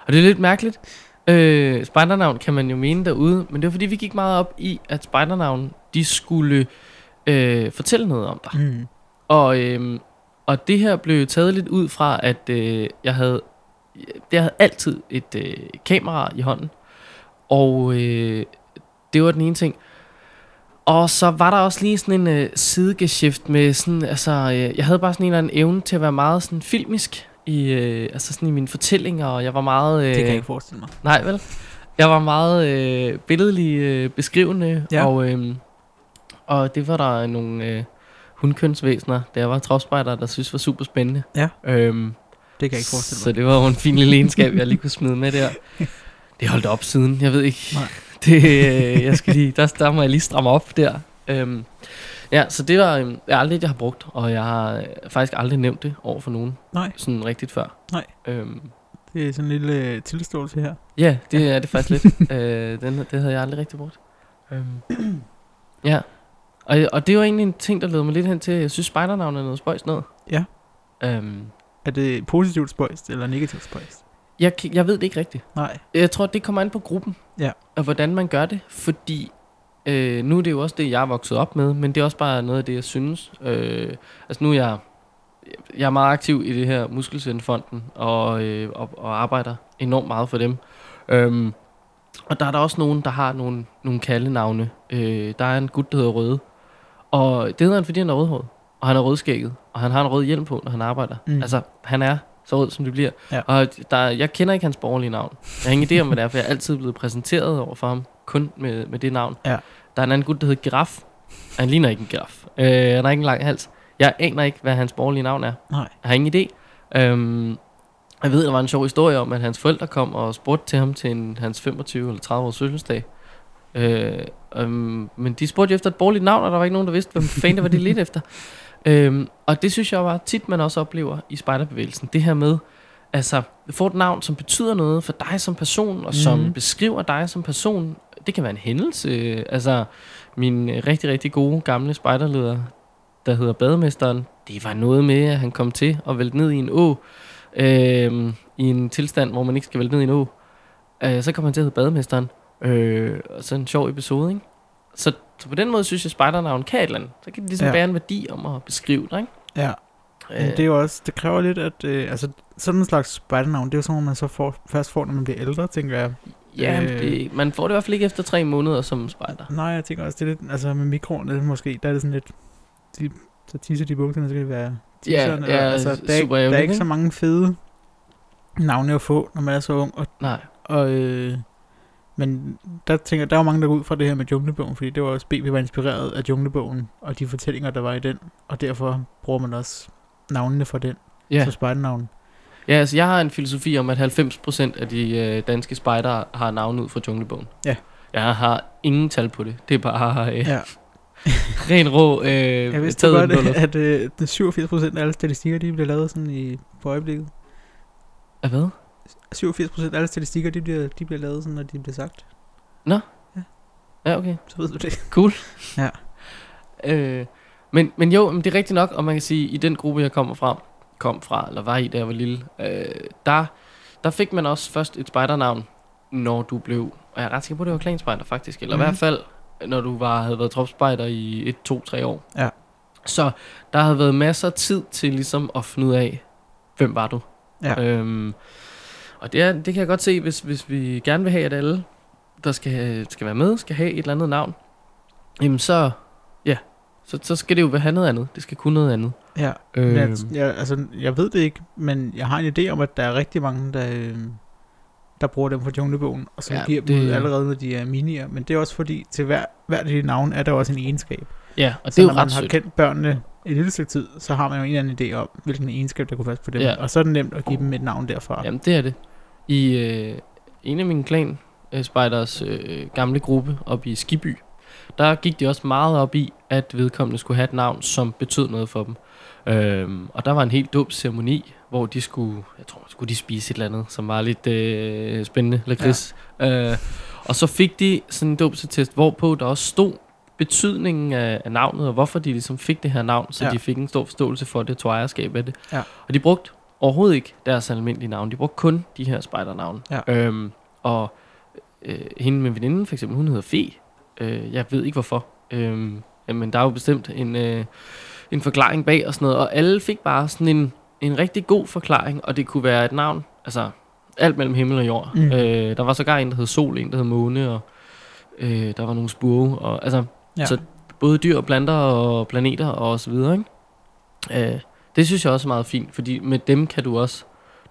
og det er lidt mærkeligt. Øh, spejdernavn kan man jo mene derude, men det var fordi, vi gik meget op i, at spejdernavn, de skulle øh, fortælle noget om dig.
Mm.
Og, øh, og det her blev taget lidt ud fra, at øh, jeg havde jeg havde altid et øh, kamera i hånden. Og øh, det var den ene ting. Og så var der også lige sådan en øh, sidegeschift med sådan, altså, øh, jeg havde bare sådan en eller anden evne til at være meget sådan filmisk i, øh, altså sådan i mine fortællinger, og jeg var meget... Øh,
Det kan jeg ikke forestille mig.
Nej, vel? Jeg var meget øh, billedlig øh, beskrivende, ja.
Ja.
og, øh, og det var der nogle øh, hundkønsvæsener, der var tropspejder, der synes var super spændende.
Ja.
Øhm,
Det kan jeg ikke forestille
så
mig.
det var jo en fin lille egenskab, jeg lige kunne smide med
(laughs)
der. Det holdt op siden, jeg ved ikke.
Nej.
(laughs) Det, øh, jeg skal lige, der, der må jeg lige stramme op der. Øhm, ja, så det var øhm, det er aldrig et, jeg har brugt, og jeg har øh, faktisk aldrig nævnt det over for nogen
Nej,
sådan rigtigt før.
Nej.
Øhm,
det er sådan en lille øh, tilståelse her.
Ja, det er det faktisk lidt. øh, den, det havde jeg aldrig rigtig brugt. Øhm. ja. Og, og det var egentlig en ting, der leder mig lidt hen til, jeg synes, spejdernavnet er noget spøjs noget.
Ja.
Øhm,
Er det positivt spøjst eller negativt spøjst?
jeg, kan- jeg ved det ikke rigtigt.
Nej.
Jeg tror, det kommer an på gruppen.
Ja.
Og hvordan man gør det, fordi øh, nu er det jo også det, jeg er vokset op med, men det er også bare noget af det, jeg synes. Øh, altså nu er jeg, jeg er meget aktiv i det her Muskelsvindfonden, og, øh, og, og arbejder enormt meget for dem. Øhm, og der er der også nogen, der har nogle, nogle kaldenavne. Øh, der er en gut, der hedder Røde, og det hedder han, fordi han er rødhåret, og han er rødskægget, og han har en rød hjelm på, når han arbejder.
Mm.
Mm. Altså, han er så rød, som det bliver.
Ja.
Og der, jeg kender ikke hans borgerlige navn. Jeg har ingen idé om, hvad det er, for jeg er altid blevet præsenteret over for ham, kun med, med det navn.
Ja.
Der er en anden gut, der hedder Giraf. Han ligner ikke en giraf. Øh, han har ikke en lang hals. Jeg aner ikke, hvad hans borgerlige navn er.
Nej.
Jeg har ingen idé. Øhm, jeg ved, der var en sjov historie om, at hans forældre kom og spurgte til ham til en, hans 25 eller 30 års fødselsdag. Øh, øhm, men de spurgte jo efter et borgerligt navn, og der var ikke nogen, der vidste, hvem fanden det var, de ledte efter. Øhm, og det synes jeg var tit, man også oplever i spejderbevægelsen. Det her med, altså, få et navn, som betyder noget for dig som person, og som
Mhm.
mm. beskriver dig som person. Det kan være en hændelse. øh, Altså, min øh, rigtig, rigtig gode gamle spejderleder, der hedder Bademesteren, det var noget med, at han kom til at vælte ned i en å, øh, i en tilstand, hvor man ikke skal vælte ned i en å. Øh, så kom han til at hedde Bademesteren. Øh, og så en sjov episode, ikke? Så, så på den måde synes jeg, spejdernavn kan et eller andet. Så kan det ligesom
Ja.
ja. bære en værdi om at beskrive dig, ikke?
Ja. Men
Øh,
det er jo også, det kræver lidt, at øh, altså, sådan en slags spejdernavn, det er jo sådan, noget, man så får, først får, når man bliver ældre, tænker jeg.
ja,
øh,
det, man får det i hvert fald ikke efter tre måneder som spejder.
Nej, jeg tænker også, det er lidt, altså med mikroen, det er måske, der er det sådan lidt, de, så tisser de i bukserne, så kan det være
Ja,
t-shirten,
ja,
eller- altså, der, er ikke-
super
der er
ærgerligt,
ikke så
ikke?
mange fede navne at få, når man er så ung, og,
Nej,
og øh, men der tænker der var mange, der går ud fra det her med junglebogen, fordi det var også BB var inspireret af junglebogen, og de fortællinger, der var i den, og derfor bruger man også navnene fra den,
ja.
så spejdernavn.
Ja, altså jeg har en filosofi om, at 90% af de øh, danske spejdere har navnet ud fra junglebogen.
Ja.
Jeg har ingen tal på det. Det er bare øh,
Ja.
ren rå øh,
Jeg vidste
taget ud af
godt,
den blå luft.
(laughs) at øh, den 87 procent af alle statistikker, de bliver lavet sådan i, på øjeblikket.
Af hvad?
87% af alle statistikker, de bliver, de bliver lavet sådan, når de bliver sagt.
Ja, okay.
Så ved du det.
Cool.
Ja.
Øh, men, men jo, men det er rigtigt nok, og man kan sige, i den gruppe, jeg kommer fra, kom fra, eller var i, da jeg var lille, øh, der, der fik man også først et spejdernavn, når du blev, og jeg er ret sikker på, at det var klanspejder faktisk, eller mm. i
Mhm.
hvert fald, når du var, havde været tropspejder i 1, 2, 3 år.
Ja.
Så der havde været masser af tid til ligesom at finde ud af, hvem var du?
Ja.
Øhm, og det, er, det kan jeg godt se, hvis, hvis vi gerne vil have, at alle, der skal, skal være med, skal have et eller andet navn, jamen så, ja, så, så skal det jo være noget andet. Det skal kunne noget andet.
Ja.
Øhm,
Men jeg, jeg, altså, jeg ved det ikke, men jeg har en idé om, at der er rigtig mange, der, øh, der bruger dem fra junglebogen, og som
Ja,
ja, giver det... dem
det-
ud allerede, når de er minier. Men det er også fordi, til hver, hvert af de navne er der også en egenskab.
ja, og
Så
det er
når
jo
man
ret
har
sødt.
kendt børnene et lille stykke tid, så har man jo en eller anden idé om, hvilken egenskab der kunne passe på dem.
Ja.
Ja. Og så er det nemt at give dem et navn derfra.
Jamen, det er det. I øh, en af mine klan øh, spejders øh, gamle gruppe op i Skiby, der gik de også meget op i, at vedkommende skulle have et navn, som betød noget for dem. Øhm, og der var en helt dum ceremoni, hvor de skulle, jeg tror, skulle de spise et eller andet, som var lidt øh, spændende, lakrids. Ja. Øh, og så fik de sådan en dåbsetest, hvorpå der også stod betydningen af, af navnet, og hvorfor de ligesom fik det her navn, så ja.
Ja.
de fik en stor forståelse for det, og tog ejerskab af det.
Ja.
Og de brugte overhovedet ikke deres almindelige navn. De brugte kun de her spejdernavne.
Ja.
Øhm, og øh, hende med veninden, for eksempel, hun hedder Fe. Øh, jeg ved ikke hvorfor. Øhm, men der er jo bestemt en, øh, en forklaring bag og sådan noget. Og alle fik bare sådan en, en rigtig god forklaring, og det kunne være et navn. Altså, alt mellem himmel og jord.
Mm.
Øh, der var sågar en, der hed Sol, en, der hed Måne, og øh, der var nogle spurve. Og, altså,
Ja.
så både dyr og planter og planeter og så videre, ikke? Øh, det synes jeg også er meget fint, fordi med dem kan du også,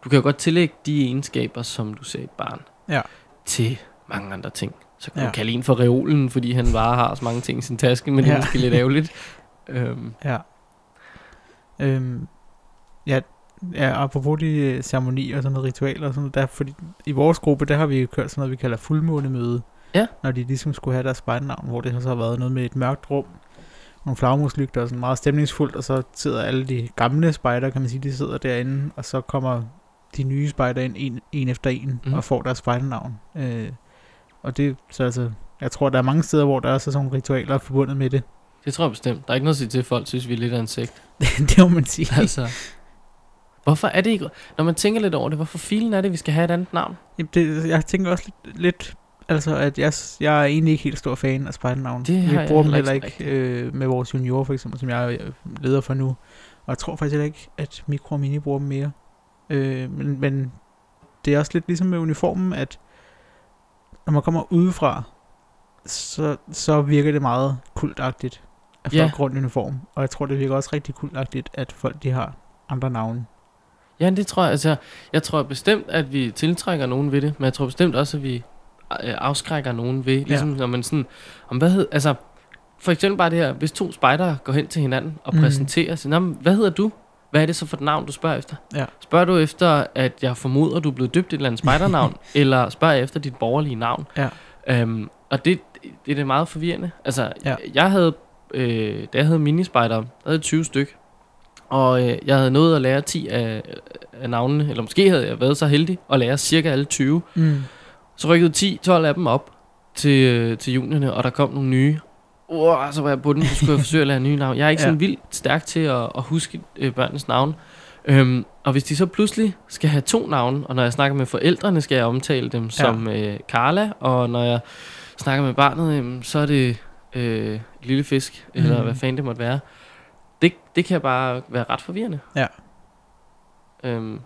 du kan jo godt tillægge de egenskaber, som du ser i et barn,
Ja.
til mange andre ting. Så kan ja.
Ja.
du kalde en for reolen, fordi han bare har så mange ting i sin taske, men ja. det er
Ja.
måske lidt
(laughs)
ærgerligt. Øhm,
Ja. Øhm, ja, ja, apropos de øh, ceremonier og sådan noget ritualer og sådan noget, der, fordi i vores gruppe, der har vi jo kørt sådan noget, vi kalder fuldmånemøde.
Ja.
Når de ligesom skulle have deres spejdenavn, hvor det har så været noget med et mørkt rum, nogle flagmuslygter og sådan meget stemningsfuldt, og så sidder alle de gamle spejder, kan man sige, de sidder derinde, og så kommer de nye spejder ind en, en efter en
Mhm.
mm. og får deres spejdernavn. Øh, og det, så altså, jeg tror, der er mange steder, hvor der også er sådan nogle ritualer forbundet med det. (laughs)
det tror jeg bestemt. Der er ikke noget at sige til, at folk synes, vi er lidt af en sekt. (laughs)
det må man sige.
Altså, hvorfor er det ikke... Når man tænker lidt over det, hvorfor filen er det, vi skal have et andet navn?
Jamen, det, jeg tænker også lidt, lidt altså, at jeg, s- jeg er egentlig ikke helt stor fan af spejdernavn.
Det har
Vi
jeg
bruger dem
heller
heller
ikke
ikke øh, med vores juniorer, for eksempel, som jeg er leder for nu. Og jeg tror faktisk heller ikke, at mikro og mini bruger dem mere. Øh, men, men det er også lidt ligesom med uniformen, at når man kommer udefra, så, så virker det meget kultagtigt, at folk
Ja.
yeah. går rundt i uniform. Og jeg tror, det virker også rigtig kultagtigt, at folk de har andre navne.
Ja, det tror jeg. Altså, jeg tror bestemt, at vi tiltrækker nogen ved det, men jeg tror bestemt også, at vi øh, afskrækker nogen ved, ligesom ja. når man sådan, om hvad hed, altså, for eksempel bare det her, hvis to spejdere går hen til hinanden og mm.
Mm.
præsenterer sig, "Nå, men hvad hedder du? Hvad er det så for et navn, du spørger efter?
Ja.
Spørger du efter, at jeg formoder, du er blevet døbt i et eller andet
(laughs)
spejdernavn, eller spørger jeg efter dit borgerlige navn?
Ja.
Øhm, og det, det er det meget forvirrende. Altså, ja.
Ja.
jeg havde, øh, da jeg havde minispejder, der havde jeg 20 styk, og øh, jeg havde nået at lære 10 af, af navnene, eller måske havde jeg været så heldig at lære cirka alle 20,
Mm.
så rykkede 10-12 af dem op til, øh, til juniorne, og der kom nogle nye. Wow, så var jeg på den, så skulle jeg forsøge at lære nye navne. Jeg er ikke ja.
Ja.
sådan vildt stærk til at, at huske øh, børnenes navne. Øhm, og hvis de så pludselig skal have to navne, og når jeg snakker med forældrene, skal jeg omtale dem som øh, Carla, og når jeg snakker med barnet, jamen, så er det øh, Lille Fisk, eller
Mm.
hvad fanden det måtte være. Det, det kan bare være ret forvirrende.
Ja.
Øhm,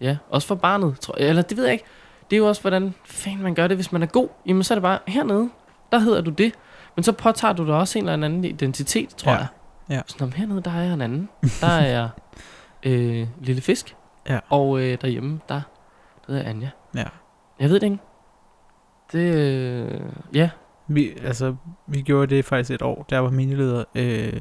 ja, også for barnet, tror jeg. Eller det ved jeg ikke. Det er jo også, hvordan fanden man gør det, hvis man er god. Jamen, så er det bare hernede, der hedder du det. Men så påtager du dig også en eller anden identitet, tror
Ja.
jeg.
Ja.
Sådan, om hernede, der er jeg en anden. Der er jeg
(laughs)
øh, Lille Fisk.
Ja.
Og øh, derhjemme, der, der hedder jeg Anja.
Ja.
Jeg ved det ikke. Det, øh, ja,
Vi, altså, vi gjorde det faktisk et år, der var min leder, øh,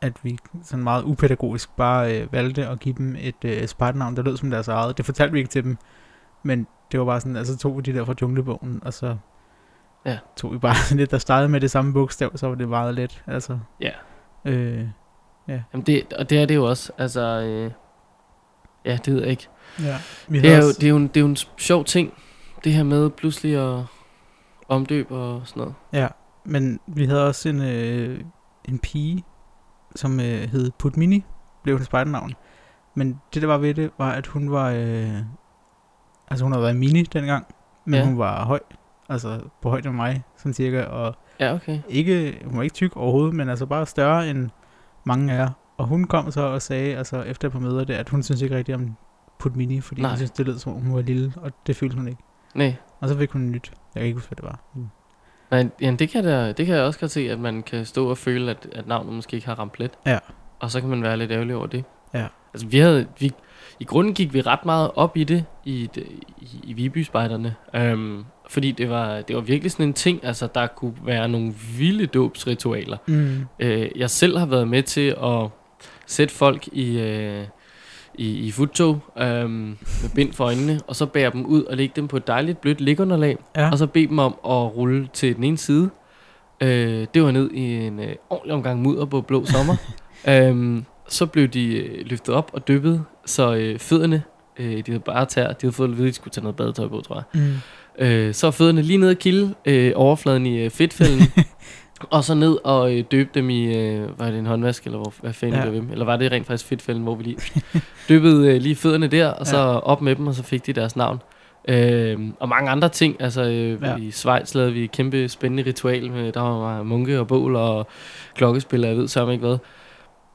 at vi sådan meget upædagogisk bare øh, valgte at give dem et øh, spartnavn, der lød som deres eget. Det fortalte vi ikke til dem, men det var bare sådan, altså tog vi de der fra junglebogen, og så
Ja.
tog vi bare (laughs) sådan lidt, der startede med det samme bogstav, så var det meget let, altså.
Ja.
Øh,
Jamen det, og det er det jo også. Altså, øh, Ja, det ved jeg ikke.
Ja. Vi
Det
havde
er, jo,
også-
det, er jo en, det er jo en sjov ting, det her med pludselig at omdøbe og sådan noget.
Ja, men vi havde også en, øh, en pige, som øh, hed Putmini, blev hendes spejdernavn. Men det der var ved det, var at hun var, øh, altså hun havde været mini dengang, men
Ja.
ja. hun var høj, altså på højde med mig, sådan cirka, og
Ja, okay.
ikke, hun var ikke tyk overhovedet, men altså bare større end mange af jer. Og hun kom så og sagde, altså efter på møder det, at hun synes ikke rigtigt om Putmini, fordi
Nej.
hun synes, det lød som om hun var lille, og det følte hun ikke.
Nej,
Og så fik hun nyt. Jeg kan ikke huske, hvad det var. Mm.
nej jamen det, kan der, det kan jeg også godt se, at man kan stå og føle, at, at navnet måske ikke har ramt let.
Ja.
Og så kan man være lidt ærgerlig over det.
Ja.
Altså vi havde, vi, i grunden gik vi ret meget op i det, i, det- i, i Viby-spejderne. Øhm, fordi det var, det var virkelig sådan en ting, altså der kunne være nogle vilde dåbsritualer.
Mm.
Øh, jeg selv har været med til at sætte folk i, øh, i, i futtog øh, med bind for øjnene, og så bære dem ud og lægge dem på et dejligt blødt liggeunderlag,
Ja.
og så bede dem om at rulle til den ene side. Øh, det var ned i en øh, ordentlig omgang mudder på blå sommer. øhm, så blev de øh, løftet op og dyppet, så øh, fødderne, øh, de havde bare tær, de havde fået at vide, at de skulle tage noget badetøj på, tror jeg.
Mm.
Øh, så er fødderne lige ned og kilde øh, overfladen i øh,
(laughs)
fedtfælden. og så ned og øh, døbe dem i, øh, var det en håndvask, eller hvor, hvad fanden ja.
Ja.
det var dem? Eller var det rent faktisk fedtfælden, hvor vi lige døbede øh, lige fødderne der, og så op med dem, og så fik de deres navn. Øh, og mange andre ting, altså øh,
Ja.
ja. i Schweiz lavede vi et kæmpe spændende ritual, med, der var munke og bål og klokkespiller, jeg ved sørme ikke hvad.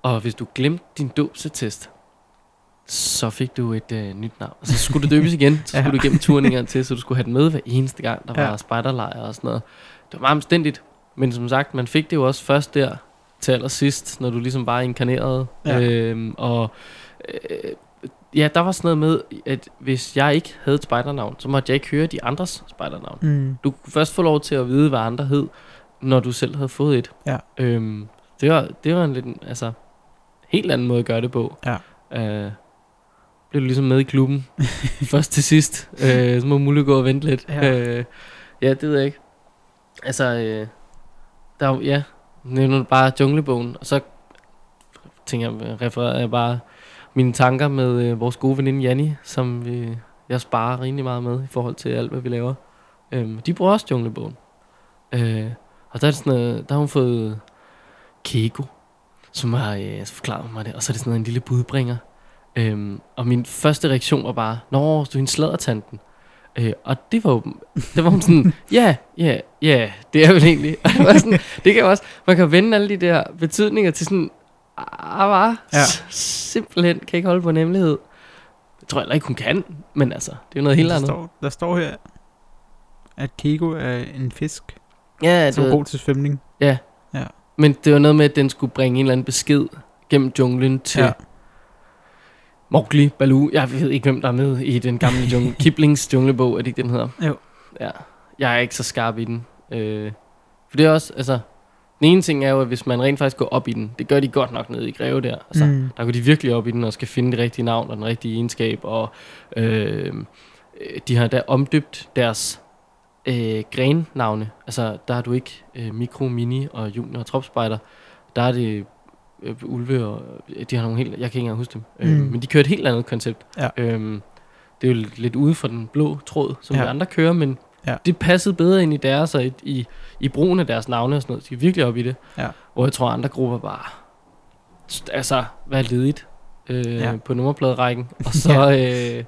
Og hvis du glemte din dåbsetest, så fik du et øh, nyt navn. Så skulle du døbes igen, så
(laughs) Ja.
skulle ja. du igennem turen en gang til, så du skulle have den med hver eneste gang, der var
Ja.
ja. spejderlejre og sådan noget. Det var meget omstændigt, men som sagt, man fik det jo også først der til allersidst, når du ligesom bare inkarnerede.
Ja.
Ja. Øhm, og øh, ja, der var sådan noget med, at hvis jeg ikke havde et spejdernavn, så måtte jeg ikke høre de andres spejdernavn.
Mm.
Du kunne først få lov til at vide, hvad andre hed, når du selv havde fået et.
Ja.
Øhm, det, var, det var en lidt, altså, helt anden måde at gøre det på.
Ja.
Øh, blev du ligesom med i klubben,
(laughs)
først til sidst. Øh, så må Mulle gå og vente lidt.
Ja.
Øh, ja, det ved jeg ikke. Altså, øh, der, er jo- ja, nævner du bare junglebogen, og så tænker jeg, refererer jeg bare mine tanker med øh, vores gode veninde Janni, som øh, jeg sparer rimelig meget med i forhold til alt, hvad vi laver. Øhm, de bruger også junglebogen. Øh, og der, er det sådan noget, der har hun fået Keiko, som har øh, forklaret mig det, og så er det sådan noget, en lille budbringer. Øhm, og min første reaktion var bare, Nå, du er en sladdertanten. Øh, og det var, jo- det var hun (laughs) sådan, ja, ja, ja, det er vel egentlig. Og det, var sådan, det kan jo også, man kan vende alle de der betydninger til sådan, ah, var,
Ja.
ja. simpelthen kan ikke holde på en hemmelighed. Jeg tror heller ikke, hun kan, men altså, det er jo noget helt
der
andet.
Står, der står her, at Kiko er en fisk,
Ja,
ja, som
det,
er god til svømning.
Men det var noget med, at den skulle bringe en eller anden besked gennem junglen til
Ja.
ja. Mowgli, Baloo. Jeg ved ikke, hvem der er med i den
(laughs)
gamle jungle. Kiplings junglebog, er det ikke, den hedder?
Jo.
Ja. Jeg er ikke så skarp i den. Øh, for det er også, altså... Den ene ting er jo, at hvis man rent faktisk går op i den, det gør de godt nok nede i Greve der. Altså, mm. Der går de virkelig op i den og skal finde det rigtige navn og den rigtige egenskab. Og øh, øh, de har da omdøbt deres øh, grenavne. Altså, der har du ikke øh, mikro, mini og junior og tropspejder. Der er det øh, ulve og... øh, De har nogle helt... Jeg kan ikke engang huske dem. Øh,
Mm.
men de kører et helt andet koncept.
Ja.
Øh, det er jo lidt ude for den blå tråd, som
Ja.
ja. de andre kører, men
Ja.
ja. det passede bedre ind i deres og i, i, i brugen af deres navne og sådan noget. De er virkelig op i det.
Ja.
Hvor jeg tror, andre grupper bare... st- Altså, hvad er ledigt øh,
Ja.
ja. på
(laughs)
nummerpladerækken? Og så... ja. Øh,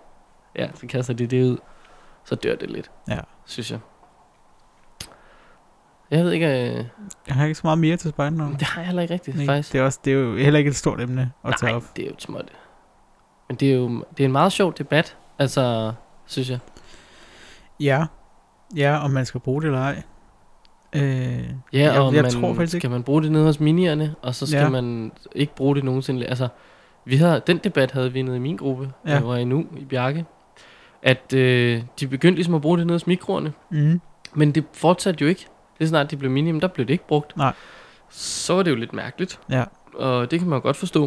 ja, så kaster de det ud. Så dør det lidt.
Ja.
Synes jeg. Jeg ved ikke... Øh,
Jeg har ikke så meget mere til spejdernavn.
det har jeg heller ikke rigtigt,
Nej,
faktisk.
det, er også, det er jo heller ikke et stort emne at tage
Nej,
op.
det er jo et småt. Men det er jo det er en meget sjov debat, altså, synes jeg.
Ja. ja, om man skal bruge det eller ej. Øh,
Ja,
Jeg-
jeg, og
jeg
man,
tror faktisk ikke-
skal man bruge det nede hos minierne, og så skal
Ja.
ja. man ikke bruge det nogensinde. Altså, vi havde, den debat havde vi nede i min gruppe,
Ja.
ja. jeg var i nu i Bjarke, at øh, de begyndte ligesom at bruge det nede hos mikroerne,
mm,
men det fortsatte jo ikke. Lige så snart de blev mini, jamen, der blev det ikke brugt.
Nej.
Så var det jo lidt mærkeligt,
ja,
og det kan man jo godt forstå.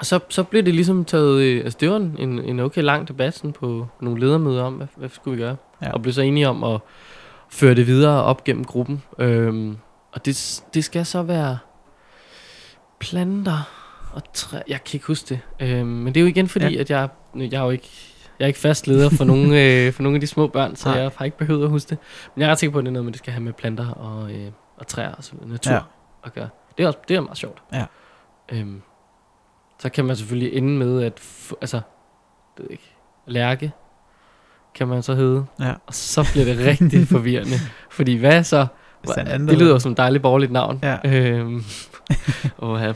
Og Så, så blev det ligesom taget, øh, altså det var en, en- en okay lang debat sådan på nogle ledermøder om, hvad, hvad skulle vi gøre?
Ja.
Ja. Og blev så enige om at føre det videre op gennem gruppen. Øhm, og det, det skal så være planter og træ. Jeg kan ikke huske det. Øhm, men det er jo igen fordi, ja. at jeg nu- jeg er jo ikke, jeg er ikke fast leder for
(laughs)
nogen, øh, for nogen af de små børn, så
Nej.
jeg har ikke behøvet at huske det. Men jeg er ret sikker på, at det er noget med, at det skal have med planter og, øh, og træer og så videre, natur
Ja.
ja. at gøre. Det er, også, det er meget sjovt.
Ja.
Øhm, så kan man selvfølgelig ende med at, f- altså, det ved jeg ikke, lærke, kan man så hedde.
Ja.
Og så bliver det
(laughs)
rigtig forvirrende. Fordi hvad så?
Hvis der er en anden,
det
der-
lyder jo som et dejligt borgerligt navn.
Ja. (laughs)
Øhm, åh, ja.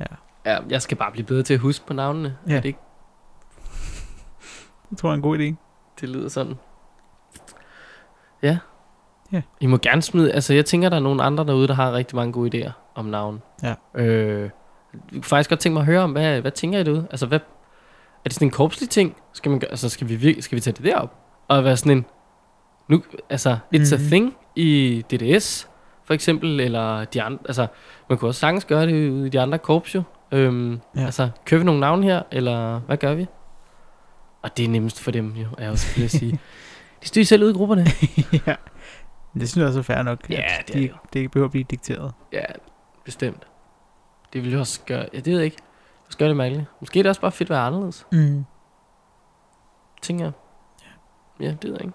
Ja.
ja. Jeg skal bare blive bedre til at huske på navnene.
Ja.
Er det, ikke,
Det tror jeg er en
(laughs)
god idé.
det lyder sådan. Ja.
Ja.
I må gerne smide... Altså, jeg tænker, der er nogen andre derude, der har rigtig mange gode idéer om navn.
Ja.
Øh, jeg kunne faktisk godt tænke mig at høre om, hvad, hvad tænker I derude? Altså, hvad, er det sådan en korpslig ting? Skal, man, gøre- altså, skal, vi, vir- skal vi tage det derop? Og være sådan en... Nu, altså, it's mm.
Mhm.
a thing i DDS, for eksempel, eller de andre... Altså, man kunne også sagtens gøre det ude i de andre korps jo. Øhm,
Ja.
ja. Altså, kører vi nogle navne her, eller hvad gør vi? Og det er nemmest for dem jo, er jeg også vil sige. (laughs) De styrer selv ude i grupperne.
ja. Men Det synes jeg også er fair nok.
Ja,
at
det er
de,
det
ikke- det ikke behøver at blive dikteret.
Ja, bestemt. Det ville jo også gøre... Ja, det ved jeg ikke. Det også gøre det mærkeligt. Måske er det også bare fedt at være anderledes,
Mm.
tænker jeg. Ja, det ved jeg ikke.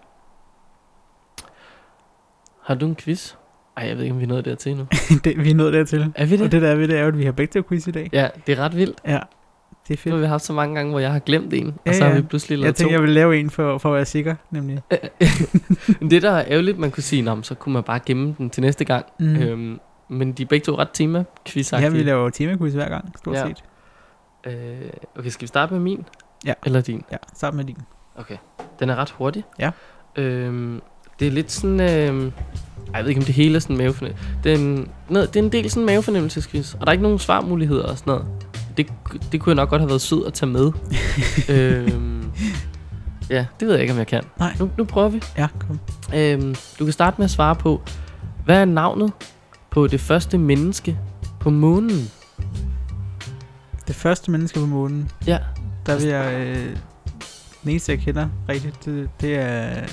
Har du en quiz? Ej, jeg ved ikke, om vi (laughs) er nået dertil endnu.
(laughs) det, vi er nået dertil.
Er vi
Og
det?
det der er ved det, er jo, at vi har begge til quiz i dag.
Ja, det er ret vildt.
Ja, det er
Det har
fedt.
vi haft så mange gange, hvor jeg har glemt en,
Ja,
og så har
ja.
vi pludselig lavet
Jeg
to.
tænkte, jeg ville lave en for, for at være sikker, nemlig.
Men det, der er ærgerligt, man kunne sige, "Nå, men så kunne man bare gemme den til næste gang.
Mm.
Mm. Øhm, men de er begge to ret tema quiz
Ja, vi laver jo temaquiz hver gang, stort
Ja.
set.
øh, Okay, skal vi starte med min?
Ja.
Eller din?
Ja, sammen med din.
Okay. Den er ret hurtig.
Ja.
Øhm, det er lidt sådan... Øhm, ej, jeg ved ikke, om det hele er sådan mavefornemmelse. Den, nej, det er en del sådan mavefornemmelsesquiz, og der er ikke nogen svarmuligheder og sådan noget. Det, det kunne jeg nok godt have været sød at tage
(laughs)
med. øhm, ja, det ved jeg ikke, om jeg kan.
Nej.
Nu, nu prøver vi.
Ja, kom.
Øhm, du kan starte med at svare på, hvad er navnet på det første menneske på månen?
Det første menneske på månen,
Ja,
der vil jeg... Øh, den eneste, jeg kender rigtigt, det, det er øh,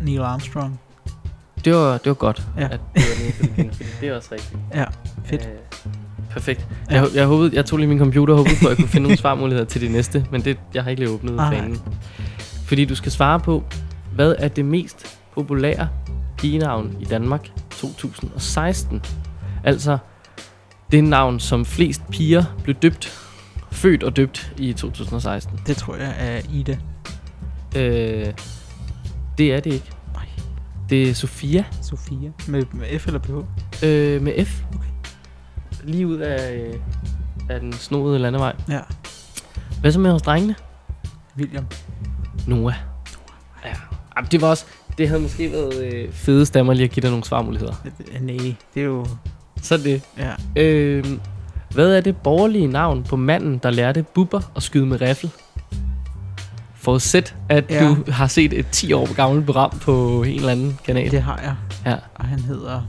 Neil Armstrong.
det var, det var godt,
Ja.
ja. at det var nede på det kende, fordi det er også rigtigt.
Ja, (laughs) fedt.
Øh, perfekt.
Ja.
Jeg, jeg, håbede, jeg tog lige min computer og håbede på, at jeg kunne finde nogle svarmuligheder til det næste, men det, jeg har ikke lige åbnet
Ah,
ah,
nej.
fanen. Fordi du skal svare på, hvad er det mest populære pigenavn i Danmark 2016? Altså, det navn, som flest piger blev døbt, født og døbt i 2016.
Det tror jeg er Ida.
Øh, det er det ikke.
Nej.
Det er Sofia
Sofia. Med, med F eller PH?
øh, med F. Lige ud af, øh, af den snodede landevej.
Ja.
Hvad så med hos drengene?
William.
Noah. Ja. Jamen, det var også... Det havde måske været øh, fede stemmer lige at give dig nogle svarmuligheder.
Øh, Nej, det er jo...
Så er det.
Ja.
Øh, hvad er det borgerlige navn på manden, der lærte buber at skyde med riffel? Forudsæt, at
Ja.
ja. du har set et 10 år gammelt program på en eller anden kanal.
Det har jeg.
Ja.
Og han hedder...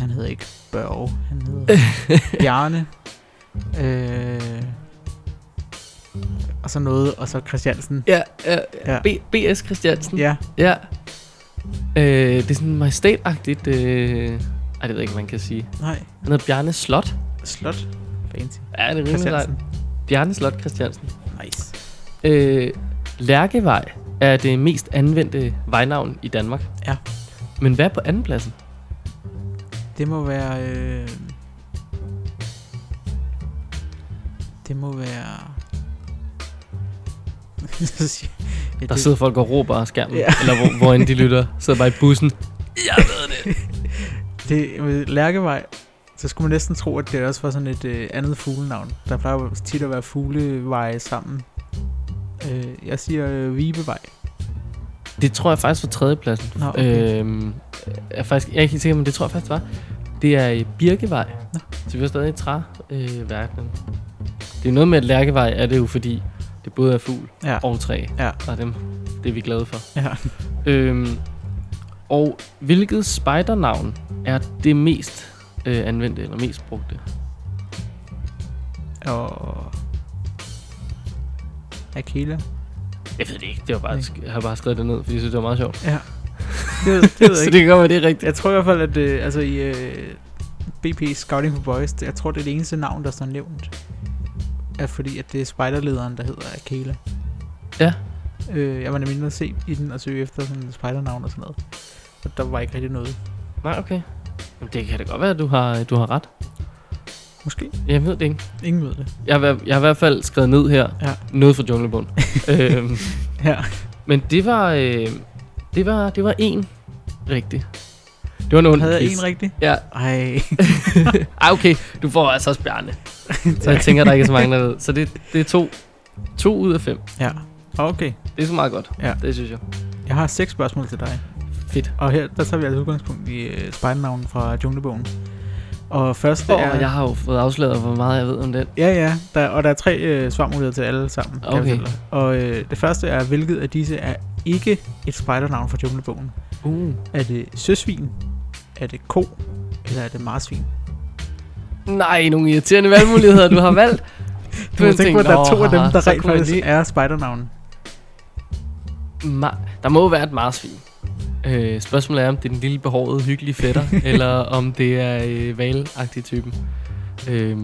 Han hedder ikke Børge. Han hedder
(laughs)
Bjarne. Øh, og så noget, og så Christiansen.
Ja, ja,
Ja.
ja. B, B.S. Christiansen.
Ja,
Ja. Øh, det er sådan majestætagtigt... Øh... Ej, det ved jeg ikke, hvad man kan sige.
nej.
Han hedder Bjarne Slot.
Slot. Fancy.
Ja, det er rimelig sejt.
Christiansen.
Bjarne Slot Christiansen.
Nice.
Øh, Lærkevej er det mest anvendte vejnavn i Danmark.
Ja.
Men hvad er på andenpladsen?
Det må være... Øh, det må være... (laughs) Så siger- ja,
Der
det-
sidder folk og råber af skærmen,
Ja.
ja. eller hvor, hvor end de lytter. Sidder bare i bussen.
Det med Lærkevej, så skulle man næsten tro, at det også var sådan et øh, andet fuglenavn. Der plejer jo tit at være fugleveje sammen. Øh, jeg siger øh, Vibevej.
Det tror jeg faktisk var tredjepladsen.
Nå, okay.
øhm, jeg, er faktisk, jeg er ikke helt sikker, men det tror jeg faktisk det var. Det er i Birkevej.
Nå.
Så vi er stadig i træverdenen. Øh, verdenen. det er noget med, at Lærkevej er det jo, fordi det både er fugl
Ja.
og træ.
Ja.
Og dem, det er vi glade for.
Ja.
Øhm, og hvilket spejdernavn er det mest øh, anvendte eller mest brugte?
Og... Akela.
Jeg ved det ikke. Det var bare, jeg har bare skrevet det ned, fordi jeg synes, det var meget sjovt.
Ja. Det, ved- det ved
(laughs)
jeg
Så
ikke.
det gør mig, det er rigtigt.
Jeg tror i hvert fald, at øh, altså, i øh, BP Scouting for Boys, det, jeg tror, det er det eneste navn, der står nævnt. er fordi, at det er spejderlederen, der hedder Akela.
Ja.
Øh, jeg var nemlig inde og se i den og søge efter sådan spejdernavn og sådan noget. Og der var ikke rigtig noget.
Nej, okay. Jamen, det kan da godt være, at du har, du har ret.
Måske.
Jeg ved det ikke.
Ingen ved det.
Jeg har, jeg har i hvert fald skrevet ned her.
Ja.
Noget fra
(laughs)
Junglebogen. øhm,
Ja.
men det var, øh, det var, det var en rigtig. Det var en ond
Havde jeg
quiz.
en rigtig?
Ja, (laughs)
Ej.
Ej, okay. Du får altså også
(laughs)
Bjarne. så jeg tænker, der er ikke er så mange, der ved. Så det, det er to. To ud af fem.
ja. Okay.
Det er så meget godt.
Ja.
Det synes jeg.
Jeg har seks spørgsmål til dig.
Fedt.
Og her, der tager vi altså udgangspunkt i øh, spejdernavnen fra Junglebogen. Og først
Åh,
er...
jeg har jo fået afsløret, hvor meget jeg ved om den.
Ja, ja. Der, og der er tre øh, svarmuligheder til alle sammen. kan
Okay.
jeg fortælle dig. Og øh, det første er, hvilket af disse er ikke et spejdernavn fra Junglebogen?
Uh.
Er det søsvin? Er det ko? Eller er det marsvin?
Nej, nogle irriterende valgmuligheder, du har valgt.
Du må tænke på, at der er to af dem, der rent
rigtig
faktisk er spejdernavnen.
Ma- der må jo være et marsvin. Øh, spørgsmålet er, om det er den lille behårede, hyggelige fætter, (laughs) eller om det er øh, valagtig typen. Øh,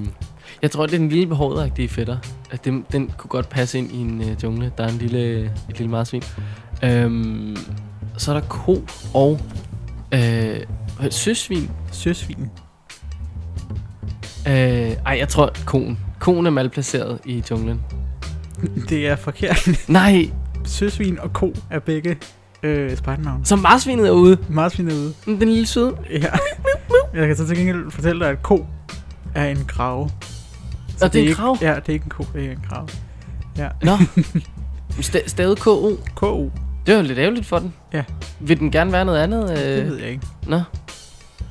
jeg tror, det er den lille behårede fætter. At den, den kunne godt passe ind i en øh, jungle. Der er en lille, et lille marsvin. Øh, så er der ko og øh, søsvin.
Søsvin.
Øh, ej, jeg tror, konen. Konen er malplaceret i junglen.
Det er forkert. (laughs)
Nej,
søsvin og ko er begge øh, spejdernavne.
så marsvinet er ude.
Marsvin er ude.
Den lille søde.
Ja. Jeg kan så til gengæld fortælle dig, at ko er en krave. Så
Og det er en
ikke,
krage?
Ja, det er ikke en ko, det er en krave.
Nå. St- stavet KO.
K.O.
Det var lidt ærgerligt for den.
Ja.
Vil den gerne være noget andet?
Det
Øh?
ved jeg ikke.
Nå.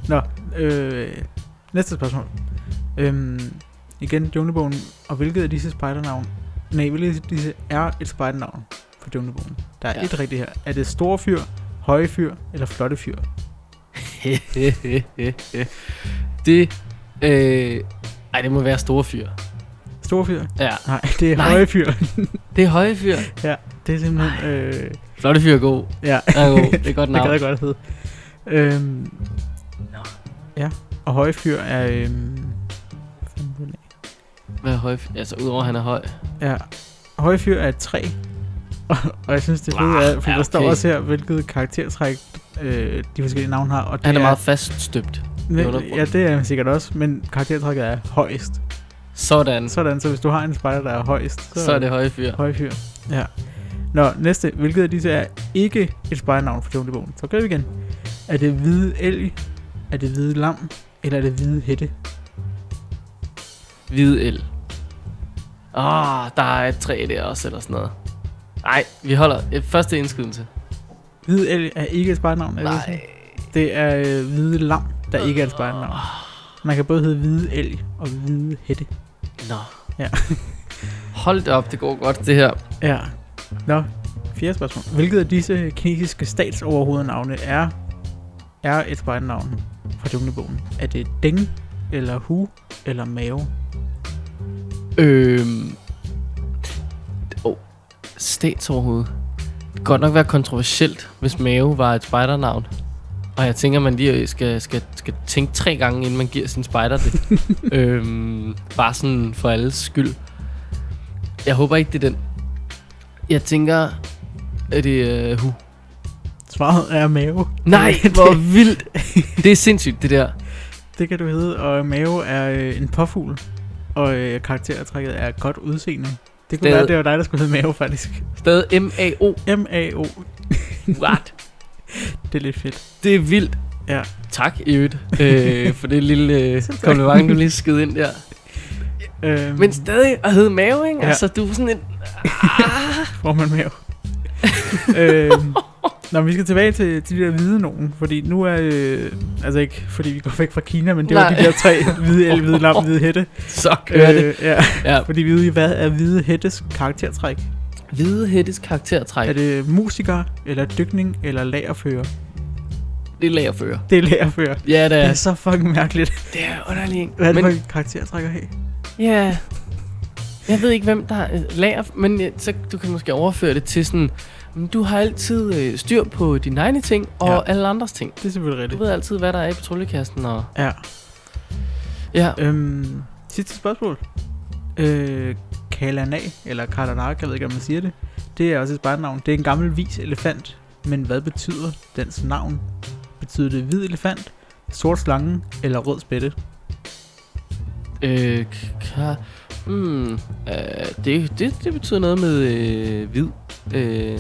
Nå, øh, næste spørgsmål. Øhm, igen, junglebogen. Og hvilket af disse spejdernavn? Nej, hvilket af disse er et spejdernavn for junglebogen? Der er
Ja.
ja. et rigtigt her. Er det store fyr, høje fyr eller flotte fyr?
det... Øh, ej, det må være store fyr.
Store fyr?
Ja.
Nej, (laughs) det er
Nej.
Nej. høje
(laughs)
fyr.
Det er høje fyr.
ja, det er simpelthen... Øh,
Flotte fyr er god.
ja,
Er god. Det er et godt
(laughs) det
navn.
kan jeg godt hedde. Øhm, Ja, og høje fyr er... Øhm, hvad fanden var det?
Hvad er høje fyr? Altså, udover at han er høj.
Ja. Høje fyr er et træ. (laughs) Og, og jeg synes, det fede er, for
ja,
der står
okay.
også her, hvilket karaktertræk øh, de forskellige navne har. Og det
Han er meget faststøbt. i
men,
undergrunden.
Ja, det er han sikkert også, men karaktertrækket er højst.
Sådan.
Sådan, så hvis du har en spejder, der er højst, så,
Så er det høje fyr.
høje fyr. Ja. Nå, næste. Hvilket af disse er ikke et spejdernavn for Junglebogen? Så gør vi igen. Er det hvide elg? Er det hvide lam? Eller er det hvide hætte?
Hvide el. Ah, der er et træ der også, eller sådan noget. Nej, vi holder et første indskydelse.
Hvide elg er ikke et spejdernavn, er det det?
Nej.
Det er øh, hvide lam, der ikke er et spejdernavn. Man kan både hedde hvide elg og hvide hætte.
Nå.
Ja.
Hold det op, det går godt, det her.
Ja. Nå, fjerde spørgsmål. Hvilket af disse kinesiske statsoverhovednavne er, er et spejdernavn fra junglebogen? Er det Deng, eller Hu, eller Mao?
Øhm... Oh, statsoverhoved. Det kan godt nok være kontroversielt, hvis mave var et spejdernavn. Og jeg tænker, man lige øh, skal, skal, skal tænke tre gange, inden man giver sin spejder
(laughs)
det. øhm, bare sådan for alles skyld. Jeg håber ikke, det er den. Jeg tænker, er det uh, hu?
Svaret er Mao. (laughs)
Nej, hvor vildt! Det er sindssygt, det der.
Det kan du hedde, og Mao er øh, en påfugl, og øh, karaktertrækket er godt udseende. Det kunne
Stadig-
være, det var dig, der skulle hedde Mao, faktisk.
Stadig M-A-O.
M-A-O. (laughs)
What?
Det er lidt fedt.
Det er vildt.
Ja.
Tak, i øvrigt, øh, for det lille
(laughs)
øh,
tak.
kompliment, du lige skid ind der.
Øhm,
Men stadig at hedde mave, ikke? Ja.
Ja.
Altså, du er sådan en...
Får man
(laughs)
mave. øhm, Nå, men vi skal tilbage til, til de der hvide nogen, fordi nu er, øh, altså ikke fordi vi går væk fra Kina, men det var
Nej.
de der tre,
(laughs)
hvide el, hvide lam, hvide hætte. Øh,
Så kører det.
ja,
Ja.
fordi vi ved, i, hvad er hvide hættes karaktertræk?
Hvide hættes karaktertræk,
Er
er det,
det musiker, eller dykning, eller lagerfører?
det er lagerfører.
Det er lagerfører. Ja.
Ja, det
Det er
er,
så fucking mærkeligt.
det er underligt.
Hvad er det
Men,
for en karaktertræk at have?
ja, jeg ved ikke, hvem der er lager, men øh, så, du kan måske overføre det til sådan... mm, Du har altid øh, styr på dine egne ting og
Ja.
ja. alle andres ting.
Det er selvfølgelig
Du
rigtigt.
ved altid, hvad der er i patruljekassen og...
Ja.
Ja,
Øhm, sidste spørgsmål. Øh, Kalanag, eller Kalanak, jeg ved ikke, om man siger det. Det er også et spejdenavn. Det er en gammel vis elefant. Men hvad betyder dens navn? Betyder det hvid elefant, sort slange eller rød spætte?
Øh, k- ka- mm, øh, det, det, det betyder noget med øh, hvid. Øh,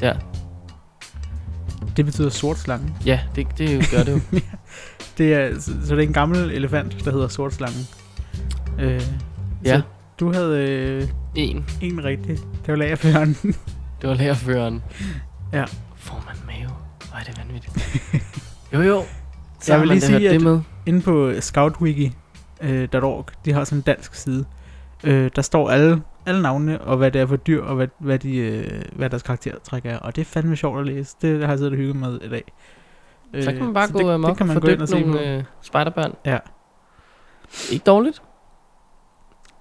ja,
Det betyder sort slange.
ja det, det gør (laughs) det jo.
Det er, så, så det er en gammel elefant, der hedder sort slange. Øh,
Ja.
Så du havde øh,
En.
en rigtig. Det var lagerføreren.
Det var lærerføreren.
Ja.
Får man mave? Hvor er det vanvittigt. (laughs) jo, jo. Så
Jeg
jeg
vil
vil man
lige
lige
sige,
sige, det
at-
med.
Inde på scoutwiki.org, de har sådan en dansk side. Øh, der står alle, alle navnene, og hvad det er for dyr, og hvad, hvad, de, øh, hvad deres karaktertræk er. Og det er fandme sjovt at læse. Det har jeg siddet og hygget med i dag.
Så kan man bare
øh, så
gå øh, amok og fordømme nogle
på.
øh, spejderbørn.
Ja.
Ikke dårligt.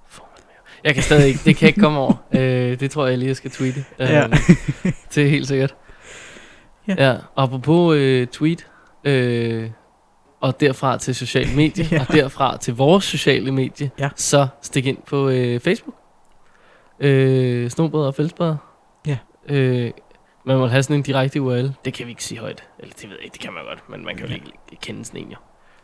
Får man mave? Jeg kan stadig ikke, det kan jeg ikke komme
(laughs)
over. øh, det tror jeg lige, jeg skal tweete. Øh,
Ja.
til helt sikkert.
Ja.
Ja. ja. Og apropos øh, tweet, øh, og derfra til sociale medier,
(laughs) Ja.
ja. og derfra til vores sociale medie,
Ja.
så stik ind på øh, Facebook. Øh, Snobrødre og fællesbrødre.
Ja.
Øh, man må have sådan en direkte URL. Det kan vi ikke sige højt. Eller det ved jeg ikke, det kan man godt, men man kan jo ikke kende sådan en jo.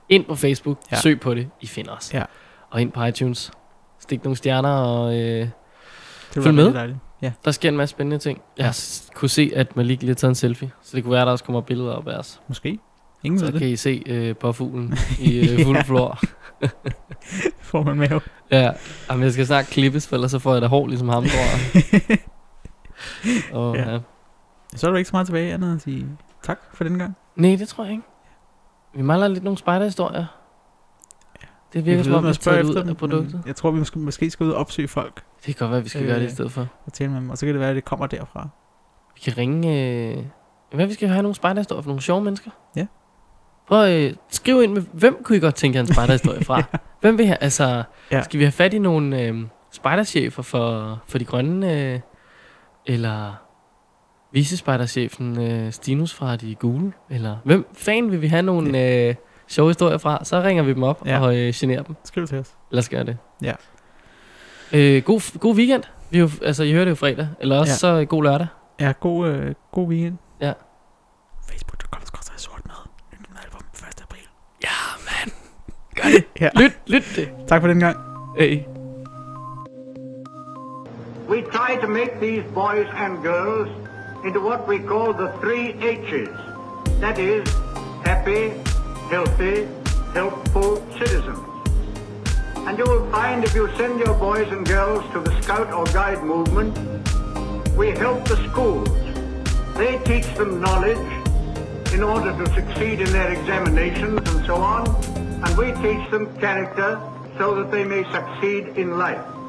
Ind på Facebook,
Ja.
ja. søg på det, I finder os.
Ja.
Og ind på iTunes. Stik nogle stjerner, og øh,
Det var
Følg med.
rigtig dejligt.
der sker en masse spændende ting. Jeg har s- kunne se, at Malik lige har taget en selfie, så det kunne være, at der også kommer billeder op af os.
Måske. Ingen ved
Så
det.
kan I se øh,
(laughs)
påfuglen i øh,
Ja.
fuld flor.
Får man mave.
Ja, Jamen, jeg skal snart klippes, for ellers så får jeg da hår ligesom ham, tror jeg.
(laughs)
og,
Ja.
ja. Ja.
Så er der ikke så meget tilbage andet end at sige tak for den gang.
Nej, det tror jeg ikke. Vi mangler lidt nogle spejderhistorier. Det virker som om, vi er taget ud af produktet.
men jeg tror, vi måske, måske skal ud og opsøge folk
Det kan godt være, vi skal øh, gøre det
Øh.
i stedet for.
og tale med dem, og så kan det være, at det kommer derfra.
Vi kan ringe... Øh... Hvad, vi skal have nogle spejderhistorier for nogle sjove mennesker?
Ja.
Prøv at øh, skrive ind med, hvem kunne I godt tænke jer en
(laughs)
spejderhistorie fra? Hvem vil have, altså...
Ja.
Ja. Skal vi have fat i nogle øh, spejderchefer for, for de grønne? Øh, eller visespejderchefen øh, Stinus fra de gule? Eller hvem fanden vil vi have nogle øh, sjove historier fra? Så ringer vi dem op
Ja.
ja. og øh, generer dem.
Skriv til os.
Lad os gøre det.
Ja.
Øh, god, god weekend. Vi er jo, altså, I hører det jo fredag. Eller også
Ja.
ja. så øh, god lørdag.
Ja, god, øh, god weekend.
Ja.
Facebook.com skal sort med. Nyt med album 1. april.
(laughs) Lyt, lyt det.
Tak for den gang.
Hey.
We try to make these boys and girls into what we call the three H's. That is, happy, healthy, helpful citizens. And you will find if you send your boys and girls to the Scout or Guide movement, we help the schools. They teach them knowledge in order to succeed in their examinations and so on, and we teach them character so that they may succeed in life.